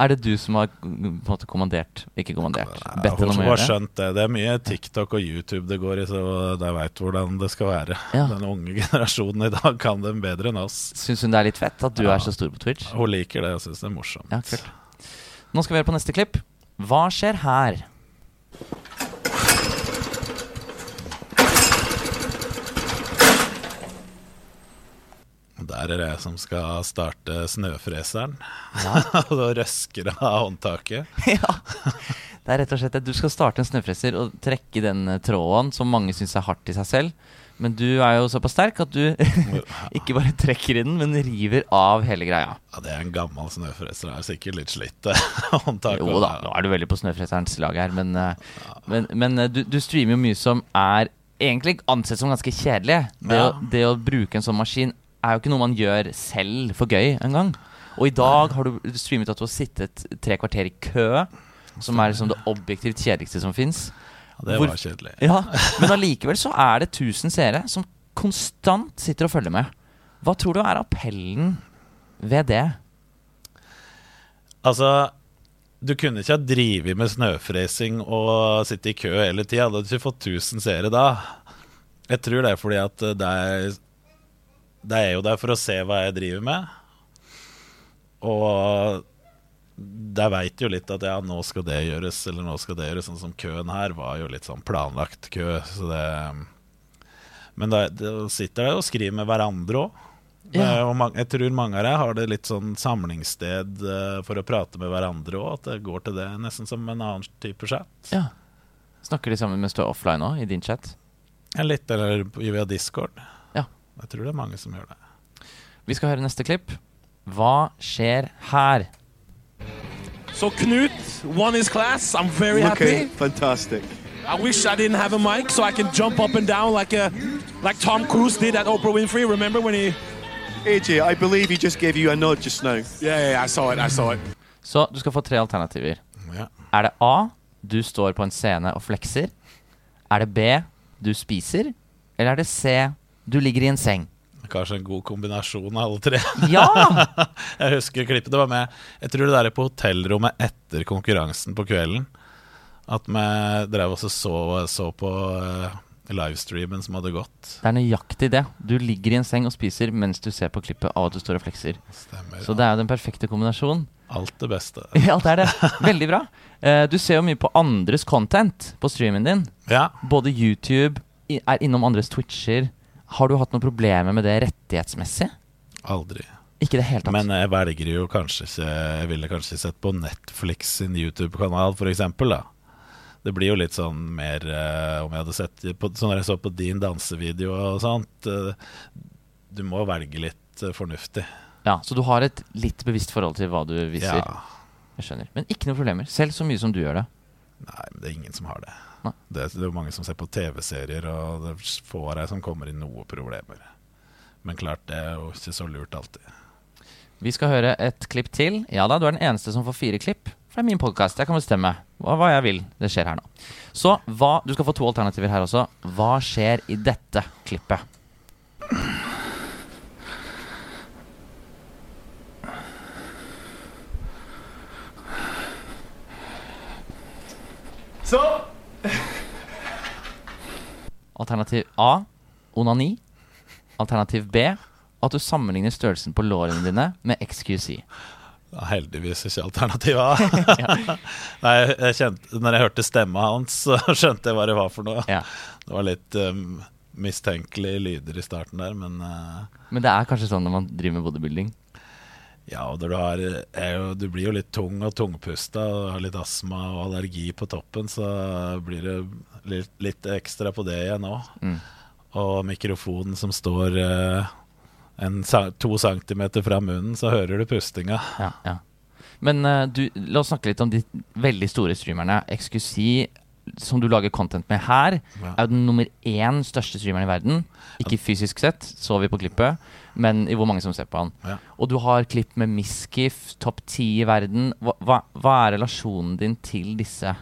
[SPEAKER 1] Er det du som har mm, på en måte kommandert Ikke kommandert, bedt
[SPEAKER 2] Hun
[SPEAKER 1] henne om å
[SPEAKER 2] har
[SPEAKER 1] gjøre det?
[SPEAKER 2] skjønt det. Det er mye TikTok og YouTube det går i, så de veit hvordan det skal være.
[SPEAKER 1] Ja.
[SPEAKER 2] Den unge generasjonen i dag kan dem bedre enn oss.
[SPEAKER 1] Syns hun det er litt fett at du
[SPEAKER 2] Ja.
[SPEAKER 1] er så stor på Twitch?
[SPEAKER 2] Hun liker det og syns det er morsomt.
[SPEAKER 1] Ja, kult. Nå skal vi høre på neste klipp. Hva skjer her?
[SPEAKER 2] Der er det jeg som skal starte snøfreseren.
[SPEAKER 1] Ja.
[SPEAKER 2] Og så røsker jeg av håndtaket.
[SPEAKER 1] ja. Det Det er rett og slett at Du skal starte en snøfreser og trekke den eh, tråden som mange syns er hardt i seg selv. Men du er jo såpass sterk at du ikke bare trekker i den, men river av hele greia.
[SPEAKER 2] Ja, det er en gammel snøfreser. Det er sikkert litt slitt eh, håndtak.
[SPEAKER 1] Jo da, nå er du veldig på snøfreserens lag her, men, eh, men, men eh, du, du streamer jo mye som er egentlig ansett som ganske kjedelig. Det,
[SPEAKER 2] Ja.
[SPEAKER 1] å, det å bruke en sånn maskin er jo ikke noe man gjør selv for gøy engang. Og i dag har du streamet at du har sittet tre kvarter i kø, som er liksom det objektivt kjedeligste som fins.
[SPEAKER 2] Ja, Det
[SPEAKER 1] Hvor-
[SPEAKER 2] var kjedelig.
[SPEAKER 1] Ja, men allikevel så er det 1000 seere som konstant sitter og følger med. Hva tror du er appellen ved det?
[SPEAKER 2] Altså, du kunne ikke ha drevet med snøfresing og sitte i kø hele tida. Du hadde du ikke fått 1000 seere da. Jeg tror det er fordi at eh, det er Det er jo der for å se hva jeg driver med. Og der veit jo litt at ja, nå skal det gjøres, eller nå skal det gjøres. Sånn som køen her var jo litt sånn planlagt kø, så det Men da, da sitter de og skriver med hverandre òg. Det er
[SPEAKER 1] Ja.
[SPEAKER 2] jo mange- Jeg tror mange av dem har det litt sånn samlingssted eh, for å prate med hverandre òg. At det går til det nesten som en annen type chat.
[SPEAKER 1] Ja. Snakker de sammen mens du er offline òg, i din chat?
[SPEAKER 2] Ja, Litt eller via Discord.
[SPEAKER 1] Ja.
[SPEAKER 2] Jeg tror det er mange som gjør det.
[SPEAKER 1] Vi skal høre neste klipp. Hva skjer her?
[SPEAKER 5] So Knut won his class. I'm very
[SPEAKER 6] Okay,
[SPEAKER 5] happy.
[SPEAKER 6] fantastic.
[SPEAKER 5] I wish I didn't have a mic so I can jump up and down like a like Tom Cruise did at Oprah Winfrey. Remember when he?
[SPEAKER 6] AJ, I believe he just gave you a nod just now.
[SPEAKER 5] Yeah, yeah, yeah I saw it. I saw it.
[SPEAKER 1] Så du skal få tre alternativer.
[SPEAKER 2] Ja.
[SPEAKER 1] Er det A. Du står på en scene og flekser. Er det B. Du spiser. Eller er det C. Du ligger i en seng.
[SPEAKER 2] Kanskje en god kombinasjon av alle tre.
[SPEAKER 1] Ja!
[SPEAKER 2] Jeg husker klippet det var med Jeg tror det der er på hotellrommet etter konkurransen på kvelden. At vi drev også så, så på eh, livestreamen som hadde gått.
[SPEAKER 1] Det er nøyaktig det. Du ligger i en seng og spiser mens du ser på klippet av at du står og flekser.
[SPEAKER 2] Stemmer.
[SPEAKER 1] Så det er jo den perfekte kombinasjonen.
[SPEAKER 2] Alt det beste.
[SPEAKER 1] Ja, det er det. Veldig bra. Eh, Du ser jo mye på andres content på streamen din.
[SPEAKER 2] Ja.
[SPEAKER 1] Både YouTube i- er innom andres Twitcher. Har du hatt noen problemer med det rettighetsmessig?
[SPEAKER 2] Aldri.
[SPEAKER 1] Ikke i det hele tatt.
[SPEAKER 2] Men jeg velger jo kanskje ikke Jeg ville kanskje sett på Netflix sin YouTube-kanal, for eksempel, da. Det blir jo litt sånn mer eh, Om jeg hadde sett på, Sånn når jeg så på din dansevideo og sånt eh, Du må velge litt eh, fornuftig.
[SPEAKER 1] Ja, Så du har et litt bevisst forhold til hva du viser?
[SPEAKER 2] Ja.
[SPEAKER 1] Jeg skjønner. Men ikke noen problemer. Selv så mye som du gjør det.
[SPEAKER 2] Nei, men det er ingen som har det.
[SPEAKER 1] Nei.
[SPEAKER 2] Det, er- det er jo mange som ser på TV-serier, og det er få av dem som kommer i noe problemer. Men klart, det er jo ikke så lurt alltid.
[SPEAKER 1] Vi skal høre et klipp til. Ja da, du er den eneste som får fire klipp. For det er min podkast. Jeg kan bestemme hva, hva jeg vil. Det skjer her nå. Så hva Du skal få to alternativer her også. Hva skjer i dette klippet?
[SPEAKER 5] So
[SPEAKER 1] Alternativ A onani. Alternativ B at du sammenligner størrelsen på lårene dine med XQC.
[SPEAKER 2] Det er Heldigvis ikke alternativet A. Nei, jeg kjente, når jeg hørte stemma hans, så skjønte jeg hva det var for noe.
[SPEAKER 1] Ja.
[SPEAKER 2] Det var litt um, mistenkelige lyder i starten der, men eh,
[SPEAKER 1] Men det er kanskje sånn når man driver med bodybuilding.
[SPEAKER 2] ja, og når du har er jo, Du blir jo litt tung og tungpusta og har litt astma og allergi på toppen, så blir det litt, litt ekstra på det igjen òg.
[SPEAKER 1] Mm.
[SPEAKER 2] Og mikrofonen som står eh, en, sa- to centimeter fra munnen, så hører du pustinga.
[SPEAKER 1] Ja, ja. Men eh, du, la oss snakke litt om de veldig store streamerne. XQC, som du lager content med her,
[SPEAKER 2] Ja.
[SPEAKER 1] er jo den nummer én største streameren i verden. Ikke fysisk sett, så vi på klippet, men i hvor mange som ser på han.
[SPEAKER 2] Ja.
[SPEAKER 1] Og du har klipp med Miskif, topp ti i verden. Hva, hva, hva er relasjonen din til disse?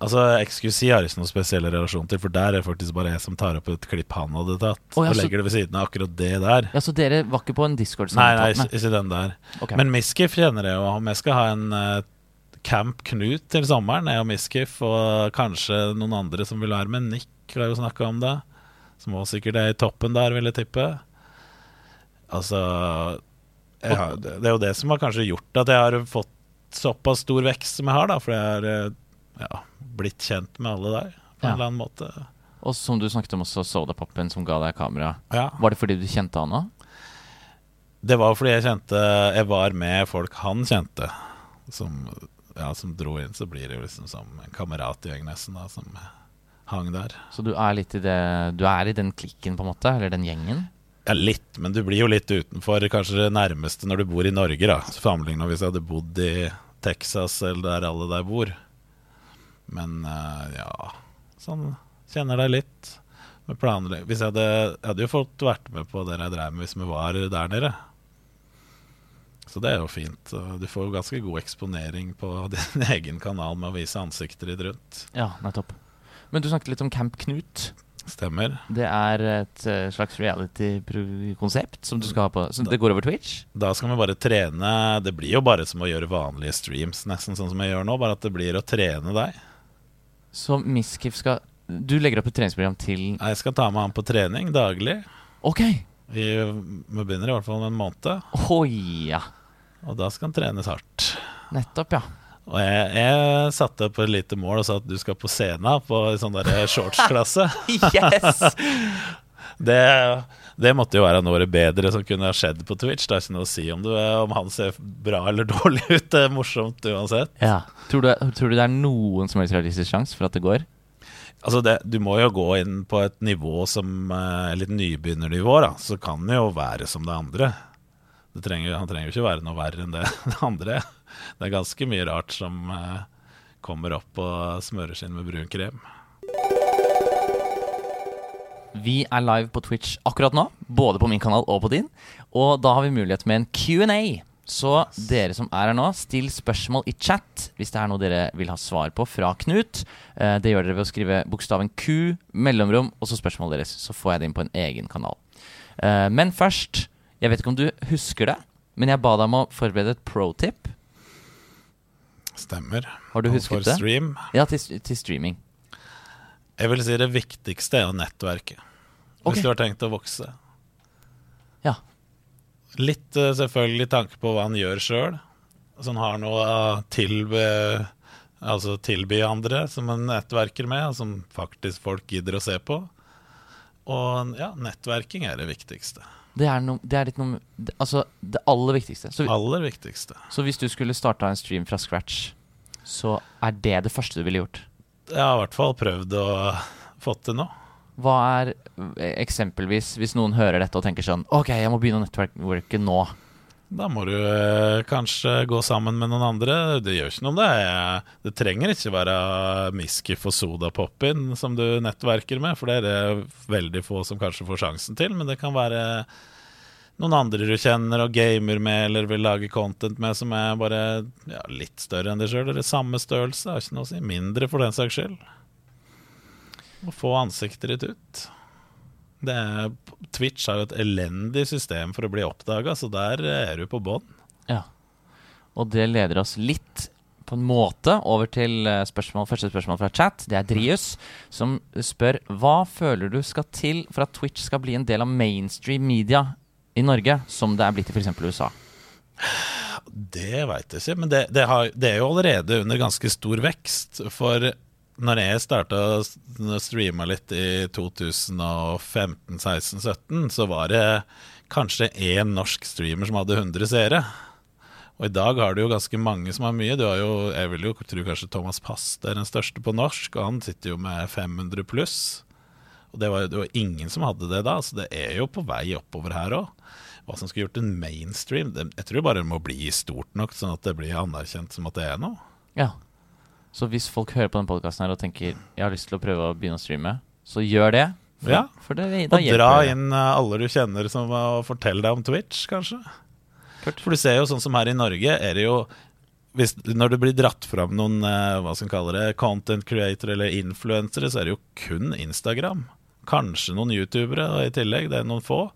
[SPEAKER 2] Altså, XQC har jeg ikke noen spesiell relasjon til, for der er det faktisk bare jeg som tar opp et klipp han hadde tatt,
[SPEAKER 1] Å, ja,
[SPEAKER 2] og
[SPEAKER 1] så- Sånn
[SPEAKER 2] legger det ved siden av akkurat det der.
[SPEAKER 1] Ja, Så dere var ikke på en discord
[SPEAKER 2] Nei, nei, ikke,
[SPEAKER 1] samtale?
[SPEAKER 2] ikke den der.
[SPEAKER 1] Ok.
[SPEAKER 2] Men Miskif kjenner jeg jo. Om jeg skal ha en eh, Camp Knut til sommeren, jeg og Miskif, og kanskje noen andre som vil være med. Nick har jo snakka om det. Som også sikkert er i toppen der, vil jeg tippe. Altså jeg har, Det det er jo det som har kanskje gjort at jeg har fått såpass stor vekst som jeg har, da. For jeg har eh, ja, blitt kjent med alle der, på
[SPEAKER 1] Ja.
[SPEAKER 2] en eller annen måte.
[SPEAKER 1] Og som du snakket om også, Sodapopen som ga deg kamera.
[SPEAKER 2] Ja.
[SPEAKER 1] Var det fordi du kjente han òg?
[SPEAKER 2] Det var fordi jeg kjente Jeg var med folk han kjente. Som ja, som dro inn, så blir det jo liksom som en kamerat i Øygnesen da, som hang der.
[SPEAKER 1] Så du er litt i det Du er i den klikken, på en måte? Eller den gjengen?
[SPEAKER 2] Ja, litt, men du blir jo litt utenfor kanskje det nærmeste når du bor i Norge, da. Sammenligna hvis jeg hadde bodd i Texas eller der alle der bor. Men eh, ja Sånn kjenner deg litt. Med planle- hvis jeg hadde, jeg hadde jo fått vært med på det jeg drev med hvis vi var der nede. Så det er jo fint. og Du får jo ganske god eksponering på din egen kanal med å vise ansikter ditt rundt.
[SPEAKER 1] Ja, nettopp. Men du snakket litt om Camp Knut.
[SPEAKER 2] Stemmer.
[SPEAKER 1] Det er et eh, slags reality-konsept som du skal ha på Så det går over Twitch?
[SPEAKER 2] Da skal vi bare trene Det blir jo bare som å gjøre vanlige streams, nesten sånn som jeg gjør nå, bare at det blir å trene deg.
[SPEAKER 1] Så Miskif skal Du legger opp et treningsprogram til
[SPEAKER 2] Nei, Jeg skal ta med han på trening daglig.
[SPEAKER 1] Ok!
[SPEAKER 2] Vi, vi begynner i hvert fall om en måned,
[SPEAKER 1] Oi, ja.
[SPEAKER 2] og da skal han trenes hardt.
[SPEAKER 1] Nettopp, ja.
[SPEAKER 2] Og jeg, jeg satte opp et lite mål og sa at du skal på scenen på en sånn der shortsklasse.
[SPEAKER 1] Yes!
[SPEAKER 2] Det, det måtte jo være noe av det bedre som kunne ha skjedd på Twitch. Det er ikke noe å si om, du, om han ser bra eller dårlig ut. Det er morsomt uansett.
[SPEAKER 1] ja. Tror, du, tror du det er noen som helst realistisk sjanse for at det går?
[SPEAKER 2] Altså det, du må jo gå inn på et nivå som eh, Litt nybegynnernivå, da. Så kan det jo være som det andre. Det trenger, han trenger jo ikke være noe verre enn det, det andre. Det er ganske mye rart som eh, kommer opp og smøres inn med brun krem.
[SPEAKER 1] Vi er live på Twitch akkurat nå, både på min kanal og på din. Og da har vi mulighet med en Q&A. Så dere som er her nå, still spørsmål i chat hvis det er noe dere vil ha svar på fra Knut. Eh, Det gjør dere ved å skrive bokstaven Q, mellomrom, og så spørsmålet deres. Så får jeg det inn på en egen kanal. Eh, Men først, jeg vet ikke om du husker det, men jeg ba deg om å forberede et pro-tip.
[SPEAKER 2] Stemmer.
[SPEAKER 1] Har du husket
[SPEAKER 2] For
[SPEAKER 1] det?
[SPEAKER 2] stream.
[SPEAKER 1] Ja, til, til streaming.
[SPEAKER 2] Jeg vil si det viktigste er jo nettverket.
[SPEAKER 1] Ok.
[SPEAKER 2] Hvis du har tenkt å vokse.
[SPEAKER 1] Ja.
[SPEAKER 2] Litt eh, selvfølgelig tanke på hva han gjør sjøl, så han har noe å tilby, altså tilby andre som han nettverker med, og som faktisk folk gidder å se på. Og ja, nettverking er det viktigste.
[SPEAKER 1] Det er, no, det er litt noe det- Altså, det aller viktigste. Så,
[SPEAKER 2] Aller viktigste.
[SPEAKER 1] Så hvis du skulle starta en stream fra scratch, så er det det første du ville gjort.
[SPEAKER 2] Jeg har i hvert fall prøvd å få til noe.
[SPEAKER 1] Hva er eh, eksempelvis, hvis noen hører dette og tenker sånn Ok, jeg må begynne å nettverke nå.
[SPEAKER 2] Da må du eh, kanskje gå sammen med noen andre. Det gjør ikke noe om det. er- Det trenger ikke være Miskif og Sodapoppen som du nettverker med, for det er det veldig få som kanskje får sjansen til. Men det kan være noen andre du kjenner og gamer med eller vil lage content med, som er bare ja, litt større enn deg sjøl, eller samme størrelse. Det har ikke noe å si. Mindre, for den saks skyld. Å få ansiktet ditt ut. Det er, Twitch har jo et elendig system for å bli oppdaga, så der er du på bånn.
[SPEAKER 1] Ja. Og det leder oss litt på en måte over til eh, spørsmål, første spørsmål fra chat. Det er Drius som spør Hva føler du skal til for at Twitch skal bli en del av mainstream media i Norge, som det er blitt i f.eks. USA?
[SPEAKER 2] Det veit jeg ikke, men det, det, har, det er jo allerede under ganske stor vekst. For når jeg starta å streame litt i 2015-16-17, så var det kanskje én norsk streamer som hadde 100 seere. Og i dag har du jo ganske mange som har mye. Du har jo, jeg vil jo tro kanskje Thomas Past er den største på norsk, og han sitter jo med 500 pluss. Og det var, det var ingen som hadde det da, så det er jo på vei oppover her òg. Hva som skulle gjort en mainstream det, Jeg tror bare det må bli stort nok, sånn at det blir anerkjent som at det er noe.
[SPEAKER 1] Ja. Så hvis folk hører på den podkasten her og tenker jeg har lyst til å prøve å begynne å streame, så gjør det. For,
[SPEAKER 2] Ja.
[SPEAKER 1] for det, da
[SPEAKER 2] Og
[SPEAKER 1] hjelper
[SPEAKER 2] dra
[SPEAKER 1] det.
[SPEAKER 2] inn eh, alle du kjenner som eh, og fortell deg om Twitch, kanskje. For du ser jo sånn som her i Norge, er det jo hvis, Når det blir dratt fram noen eh, hva som kaller det, content creator eller influensere, så er det jo kun Instagram. Kanskje noen youtubere og i tillegg, det er noen få.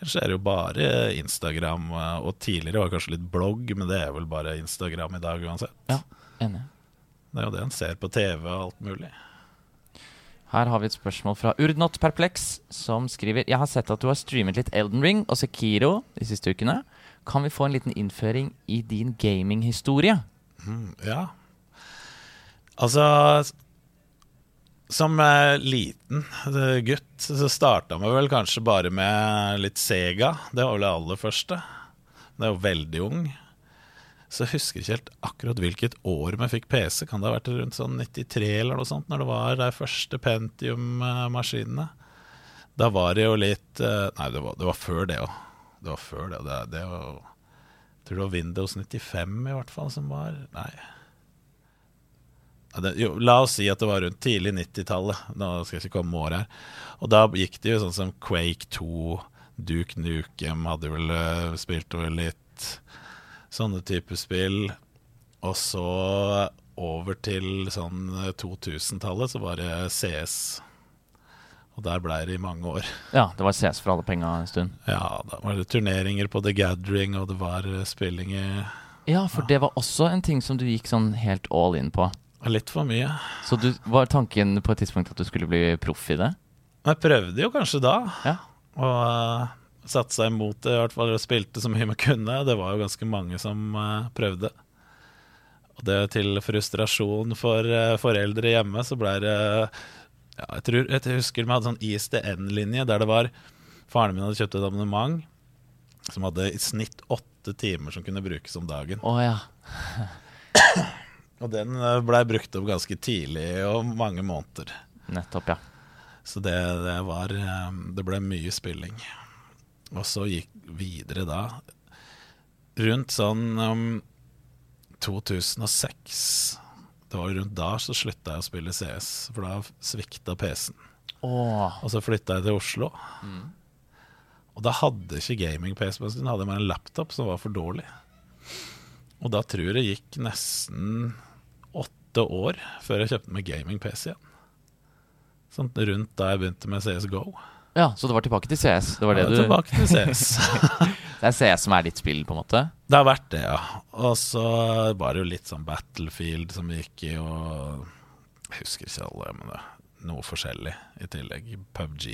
[SPEAKER 2] Ellers er det jo bare Instagram. eh, Og tidligere var det kanskje litt blogg, men det er vel bare Instagram i dag uansett.
[SPEAKER 1] Ja, enig.
[SPEAKER 2] Det er jo det en ser på TV og alt mulig.
[SPEAKER 1] Her har vi et spørsmål fra Urdnot Perplex, som skriver Jeg har sett at du har streamet litt Elden Ring og Sekiro de siste ukene. Kan vi få en liten innføring i din gaminghistorie?
[SPEAKER 2] Ja. Altså s- Som eh, liten eh, gutt så starta vi vel kanskje bare med litt Sega. Det var vel det aller første. Det er jo veldig ung. Så jeg husker ikke helt akkurat hvilket år vi fikk PC. Kan det ha vært rundt sånn 93 eller noe sånt, når det var de første Pentium-maskinene? Da var det jo litt eh, Nei, det var, det var før det òg. Det var før det. og det, det var, jeg tror det var Windows 95 i hvert fall som var Nei. Ja, Det, jo, la oss si at det var rundt tidlig 90-tallet. Nå skal jeg ikke komme med år her. Og da gikk det jo sånn som Quake 2, Duke Nukem hadde vel eh, spilt over litt sånne type spill. Og så over til sånn 2000-tallet så var det CS. Og der blei det i mange år.
[SPEAKER 1] Ja, det var CS for alle penga en stund.
[SPEAKER 2] Ja, da var det turneringer på The Gathering, og det var eh, spilling i
[SPEAKER 1] Ja, for det var også en ting som du gikk sånn helt all in på.
[SPEAKER 2] litt for mye.
[SPEAKER 1] Så du, var tanken på et tidspunkt at du skulle bli proff i det?
[SPEAKER 2] Men jeg prøvde jo kanskje da,
[SPEAKER 1] Ja.
[SPEAKER 2] og eh, satsa imot det, i hvert fall og spilte så mye man kunne. Det var jo ganske mange som eh, prøvde. Og det til frustrasjon for eh, foreldre hjemme, så blei det ja, jeg, tror, jeg husker vi hadde sånn ISDN-linje der det var Faren min hadde kjøpt et abonnement som hadde i snitt åtte timer som kunne brukes om dagen.
[SPEAKER 1] Å ja.
[SPEAKER 2] Og den eh, blei brukt opp ganske tidlig, og mange måneder.
[SPEAKER 1] Nettopp, ja.
[SPEAKER 2] Så det, det var eh, Det ble mye spilling. Og så gikk videre da Rundt sånn um, 2006 Det var jo rundt da så slutta jeg å spille CS, for da svikta PC-en.
[SPEAKER 1] Åh.
[SPEAKER 2] Og så flytta jeg til Oslo. Og da hadde ikke gaming-PC på en stund, hadde jeg bare en laptop som var for dårlig. Og da tror jeg det gikk nesten åtte år før jeg kjøpte meg gaming-PC igjen. Sånn rundt da jeg begynte med CSGO.
[SPEAKER 1] Ja, så det var tilbake til CS. Det var det
[SPEAKER 2] Ja,
[SPEAKER 1] du
[SPEAKER 2] Tilbake til CS.
[SPEAKER 1] Det er CS som er ditt spill, på en måte?
[SPEAKER 2] Det har vært det, ja. Og så var det jo litt sånn Battlefield som vi gikk i, og jeg husker ikke alle, men det, noe forskjellig i tillegg. PubG,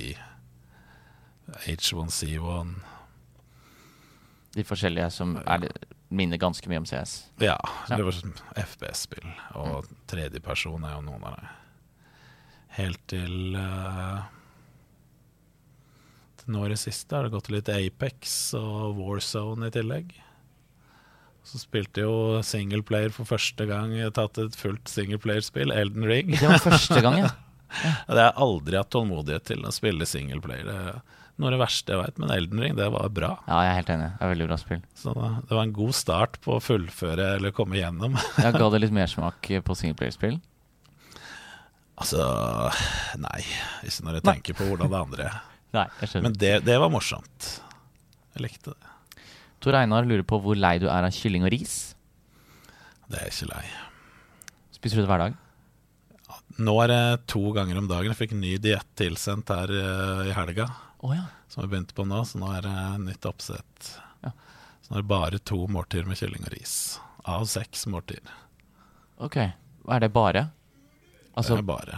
[SPEAKER 2] H1C1
[SPEAKER 1] De forskjellige som er, minner ganske mye om CS.
[SPEAKER 2] Ja,
[SPEAKER 1] Ja.
[SPEAKER 2] det var sånn FPS-spill, og tredjeperson er jo noen av det. Helt til eh, Til nå i det siste har det gått litt Apex og Warzone i tillegg. Så spilte jo singleplayer for første gang. Jeg har tatt et fullt singleplayerspill, Elden Ring.
[SPEAKER 1] Det var første gang, ja.
[SPEAKER 2] Det har jeg aldri hatt tålmodighet til å spille singleplayer. Det er Noe av det verste jeg veit, men Elden Ring, det var bra.
[SPEAKER 1] Ja, jeg er helt enig. Det er Veldig bra spill.
[SPEAKER 2] Så det var en god start på å fullføre eller komme gjennom.
[SPEAKER 1] Jeg ga det litt mersmak på singleplayerspill.
[SPEAKER 2] Altså, nei. Ikke når jeg
[SPEAKER 1] Nei.
[SPEAKER 2] tenker på hvordan det andre er.
[SPEAKER 1] Nei, jeg skjønner.
[SPEAKER 2] Men det, det var morsomt. Jeg likte det.
[SPEAKER 1] Tor Einar lurer på hvor lei du er av kylling og ris.
[SPEAKER 2] Det er jeg ikke lei.
[SPEAKER 1] Spiser du det hver dag?
[SPEAKER 2] Nå er det to ganger om dagen. Jeg fikk ny diett tilsendt her eh, i helga,
[SPEAKER 1] Å ja.
[SPEAKER 2] som vi begynte på nå, så nå er det nytt oppsett.
[SPEAKER 1] Ja.
[SPEAKER 2] Så nå er det bare to måltider med kylling og ris. Av seks måltider.
[SPEAKER 1] Ok. Hva er det bare?
[SPEAKER 2] Det
[SPEAKER 1] Altså,
[SPEAKER 2] er bare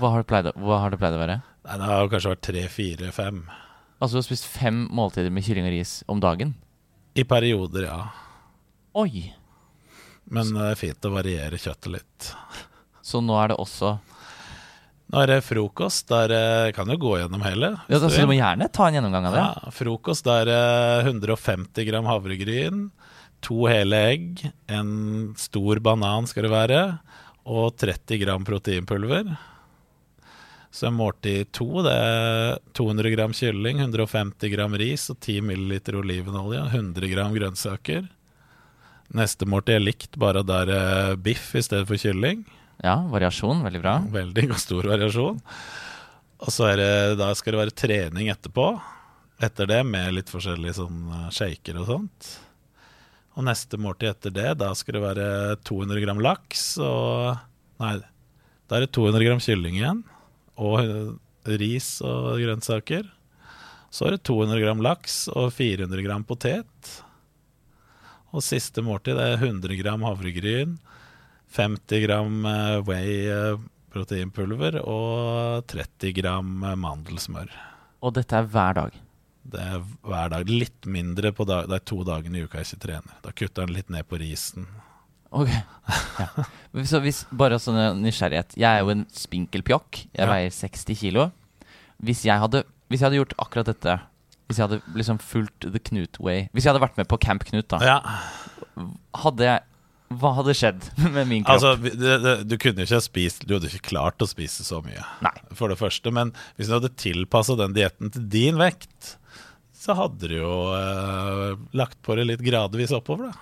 [SPEAKER 1] hva har det pleid, å- hva har det pleid å være?
[SPEAKER 2] Nei, det har jo kanskje vært tre, fire, fem.
[SPEAKER 1] Altså, du har spist fem måltider med kylling og ris om dagen?
[SPEAKER 2] I perioder, ja.
[SPEAKER 1] Oi!
[SPEAKER 2] Men det er fint å variere kjøttet litt.
[SPEAKER 1] Så nå er det også
[SPEAKER 2] Nå er det frokost. Der eh, kan jo gå gjennom hele.
[SPEAKER 1] Ja,
[SPEAKER 2] hvis
[SPEAKER 1] da, Så
[SPEAKER 2] vil.
[SPEAKER 1] du må gjerne ta en gjennomgang av det?
[SPEAKER 2] Ja, frokost er eh, 150 gram havregryn, to hele egg, en stor banan skal det være, og 30 gram proteinpulver. Så en måltid to, det er 200 gram kylling, 150 gram ris og 10 milliliter olivenolje, 100 gram grønnsaker. Neste måltid er likt, bare der er biff i stedet for kylling.
[SPEAKER 1] Ja, variasjon. Veldig bra.
[SPEAKER 2] Veldig god- stor variasjon. Og så er det, da skal det være trening etterpå. Etter det med litt forskjellige sånn eh, shaker og sånt. Og neste måltid etter det, da skal det være 200 gram laks og Nei, da er det 200 gram kylling igjen. Og eh, ris og grønnsaker. Så er det 200 gram laks og 400 gram potet. Og siste måltid det er 100 gram havregryn, 50 gram eh, whey eh, proteinpulver og 30 gram eh, mandelsmør.
[SPEAKER 1] Og dette er hver dag.
[SPEAKER 2] Det er hver dag. Litt mindre på dag, det er to dagene i uka jeg ikke trener. Da kutter han litt ned på risen.
[SPEAKER 1] Ok. Ja. Men Så hvis, bare sånn nysgjerrighet. Jeg er jo en spinkel pjokk. Jeg
[SPEAKER 2] Ja.
[SPEAKER 1] veier 60 kilo. Hvis jeg, hadde, hvis jeg hadde gjort akkurat dette Hvis jeg hadde liksom fulgt The Knut Way Hvis jeg hadde vært med på Camp Knut, da,
[SPEAKER 2] Ja,
[SPEAKER 1] hadde jeg Hva hadde skjedd med min kropp?
[SPEAKER 2] Altså, vi- det, det, du kunne ikke ha spist Du hadde ikke klart å spise så mye,
[SPEAKER 1] Nei.
[SPEAKER 2] for det første. Men hvis du hadde tilpassa den dietten til din vekt, så hadde du jo eh, lagt på det litt gradvis oppover, da.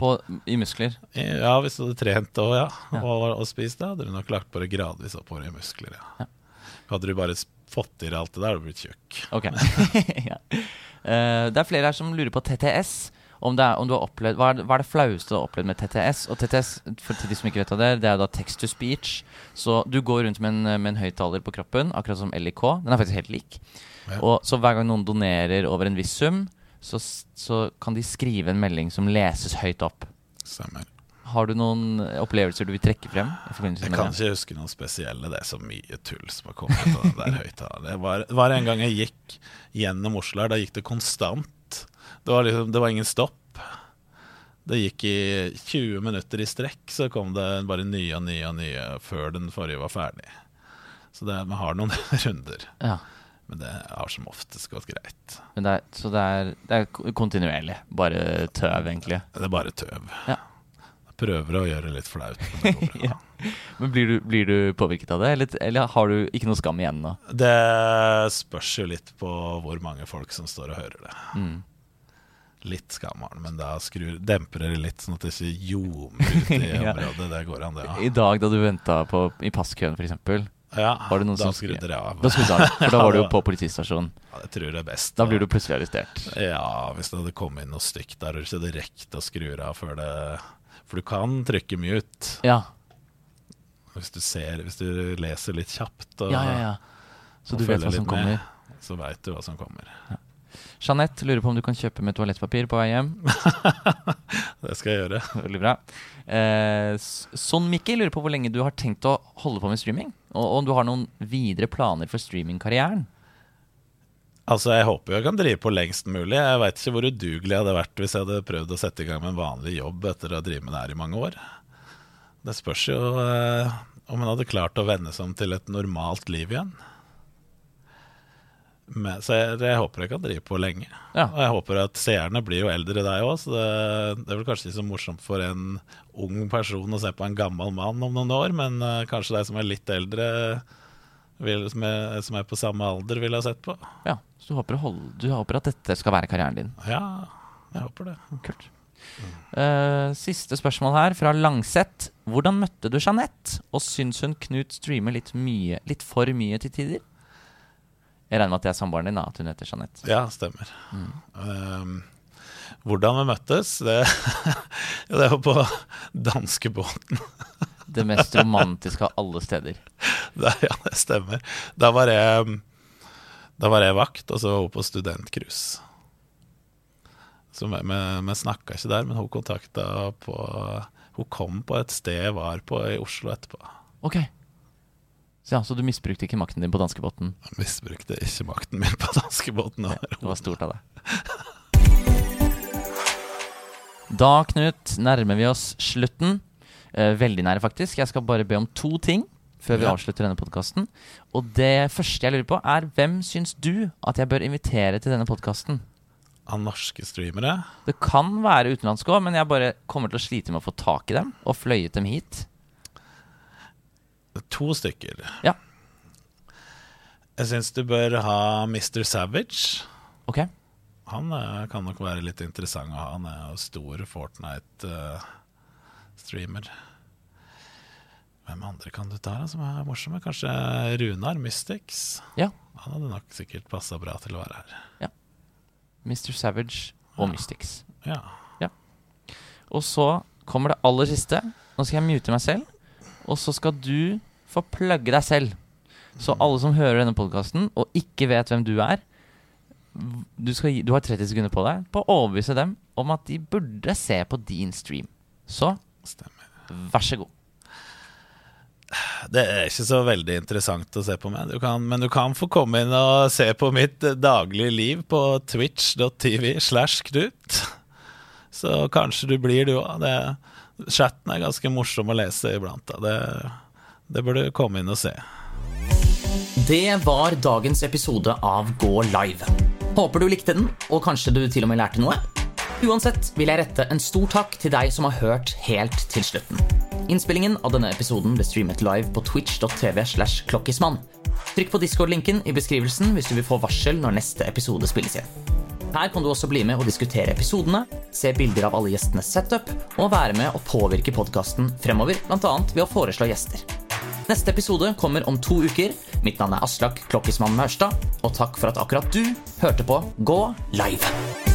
[SPEAKER 1] På, I muskler.
[SPEAKER 2] Ja, hvis du hadde trent og, ja, og, og spist, da hadde du nok lagt på det gradvis oppover i muskler. Ja. Hadde du bare s- fått i deg alt det der, hadde du blitt tjukk.
[SPEAKER 1] Ok. ja. Eh, det er flere her som lurer på TTS. Om det er, om du har opplevd, hva, er, det- hva er det flaueste du har opplevd med TTS? Og TTS, for til de som ikke vet hva det er, det er jo da text to speech. Så du går rundt med en, med en høyttaler på kroppen, akkurat som LIK. Den er faktisk helt lik. Og så hver gang noen donerer over en viss sum, så, s- så kan de skrive en melding som leses høyt opp.
[SPEAKER 2] Stemmer.
[SPEAKER 1] Har du noen opplevelser du vil trekke frem? i forbindelse
[SPEAKER 2] Jeg
[SPEAKER 1] med
[SPEAKER 2] kan
[SPEAKER 1] det?
[SPEAKER 2] ikke huske noen spesielle. Det er så mye tull som har kommet ut av den der høyttaleren. Det var, det var en gang jeg gikk gjennom Oslo her, da gikk det konstant. Det var, liksom, det var ingen stopp. Det gikk i 20 minutter i strekk, så kom det bare nye og nye og nye før den forrige var ferdig. Så det, vi har noen runder.
[SPEAKER 1] Ja.
[SPEAKER 2] Men det har som oftest gått greit.
[SPEAKER 1] Men det er, så det er, det er ko- kontinuerlig. Bare tøv, egentlig.
[SPEAKER 2] Det er bare tøv.
[SPEAKER 1] Ja.
[SPEAKER 2] Jeg prøver å gjøre det litt flaut. men det går bra.
[SPEAKER 1] Men blir du, blir du påvirket av det, eller, eller har du ikke noe skam igjen nå?
[SPEAKER 2] Det spørs jo litt på hvor mange folk som står og hører det.
[SPEAKER 1] Mm.
[SPEAKER 2] Litt skam har den, men da skrur, demper det litt, sånn at det ikke ljomer ut i
[SPEAKER 1] Ja.
[SPEAKER 2] området. Det går an, det.
[SPEAKER 1] I
[SPEAKER 2] Ja.
[SPEAKER 1] dag da du venta i passkøen, f.eks.,
[SPEAKER 2] Ja,
[SPEAKER 1] var det noen
[SPEAKER 2] da
[SPEAKER 1] som skru-
[SPEAKER 2] skrudde det av.
[SPEAKER 1] da skulle du ta den, for da var du jo på politistasjonen.
[SPEAKER 2] Ja, jeg tror det er best.
[SPEAKER 1] Da blir du plutselig arrestert.
[SPEAKER 2] Ja, hvis det hadde kommet inn noe stygt der, så hadde det rekt å skru det av før det For du kan trykke mute
[SPEAKER 1] Ja,
[SPEAKER 2] hvis du ser, hvis du leser litt kjapt. Og,
[SPEAKER 1] ja, ja. ja. Så
[SPEAKER 2] og
[SPEAKER 1] du vet
[SPEAKER 2] følger
[SPEAKER 1] hva som
[SPEAKER 2] litt med,
[SPEAKER 1] kommer.
[SPEAKER 2] Så veit du hva som kommer.
[SPEAKER 1] Jeanette lurer på om du kan kjøpe med toalettpapir på vei hjem.
[SPEAKER 2] Det skal jeg gjøre.
[SPEAKER 1] Veldig bra. Eh, S- Son Mikkel lurer på hvor lenge du har tenkt å holde på med streaming. Og om du har noen videre planer for streamingkarrieren.
[SPEAKER 2] Altså, Jeg håper jo jeg kan drive på lengst mulig. Jeg veit ikke hvor udugelig jeg hadde vært hvis jeg hadde prøvd å sette i gang med en vanlig jobb etter å ha drevet med det her i mange år. Det spørs jo eh, om en hadde klart å vende seg om til et normalt liv igjen. Men, så jeg, jeg håper jeg kan drive på lenge.
[SPEAKER 1] Ja.
[SPEAKER 2] Og jeg håper at seerne blir jo eldre deg òg, så det, det er vel kanskje ikke så morsomt for en ung person å se på en gammel mann om noen år, men eh, kanskje de som er litt eldre, vil, som, er, som er på samme alder, ville ha sett på.
[SPEAKER 1] Ja, så du håper, å holde, du håper at dette skal være karrieren din.
[SPEAKER 2] Ja, jeg håper det.
[SPEAKER 1] Kult. Eh, siste spørsmål her, fra Langseth. Hvordan møtte du Jeanette? Og syns hun Knut streamer litt mye, litt for mye til tider? Jeg regner med at det er samboeren din, da, at hun heter Jeanette.
[SPEAKER 2] Ja, stemmer. Um, hvordan vi møttes? Det, ja, det var på danskebåten.
[SPEAKER 1] Det mest romantiske av alle steder.
[SPEAKER 2] Da- Ja, det stemmer. Da var jeg, da var jeg vakt, og så var hun på studentcruise. Så vi, vi, vi snakka ikke der, men hun kontakta på Hun kom på et sted jeg var på i Oslo etterpå.
[SPEAKER 1] Ok. Så, ja, så du misbrukte ikke makten din på danskebåten?
[SPEAKER 2] Jeg misbrukte ikke makten min på danskebåten.
[SPEAKER 1] Det var stort av deg. Da, Knut, nærmer vi oss slutten. Eh, veldig nære, faktisk. Jeg skal bare be om to ting før vi
[SPEAKER 2] Ja.
[SPEAKER 1] avslutter denne podkasten. Og det første jeg lurer på, er hvem syns du at jeg bør invitere til denne podkasten?
[SPEAKER 2] Av norske streamere.
[SPEAKER 1] Det kan være utenlandske òg, men jeg bare kommer til å slite med å få tak i dem og fløyet dem hit.
[SPEAKER 2] To stykker.
[SPEAKER 1] Ja.
[SPEAKER 2] Jeg syns du bør ha Mr. Savage.
[SPEAKER 1] Ok?
[SPEAKER 2] Han eh, kan nok være litt interessant å ha. Han er jo stor eh, Fortnite-streamer. Hvem andre kan du ta da, som er morsomme? Kanskje Runar Mystics?
[SPEAKER 1] Ja.
[SPEAKER 2] Han hadde nok sikkert passa bra til å være her.
[SPEAKER 1] Mr. Savage og Mystics.
[SPEAKER 2] Ja.
[SPEAKER 1] Og så kommer det aller siste. Nå skal jeg mute meg selv. Og så skal du få plugge deg selv. Så alle som hører denne podkasten og ikke vet hvem du er du, skal, gi- du har 30 sekunder på deg på å overbevise dem om at de burde se på din stream. Så
[SPEAKER 2] Stemmer.
[SPEAKER 1] vær så god.
[SPEAKER 2] Det er ikke så veldig interessant å se på meg, du kan, men du kan få komme inn og se på mitt eh, daglige liv på twitch.tv slash knut. Så kanskje du blir du òg. Chatten er ganske morsom å lese iblant. Da. Det, det bør du komme inn og se.
[SPEAKER 1] Det var dagens episode av Gå live. Håper du likte den, og kanskje du til og med lærte noe. Uansett vil jeg rette en stor takk til deg som har hørt helt til slutten. Innspillingen av denne episoden ble streamet live på twitch.tv. slash klokkismann. Trykk på Discord-linken i beskrivelsen hvis du vil få varsel når neste episode spilles inn. Her kan du også bli med og diskutere episodene, se bilder av alle gjestenes setup, og være med og påvirke podkasten fremover, bl.a. ved å foreslå gjester. Neste episode kommer om to uker. Mitt navn er Aslak Klokkismann Maurstad, og takk for at akkurat du hørte på Gå live!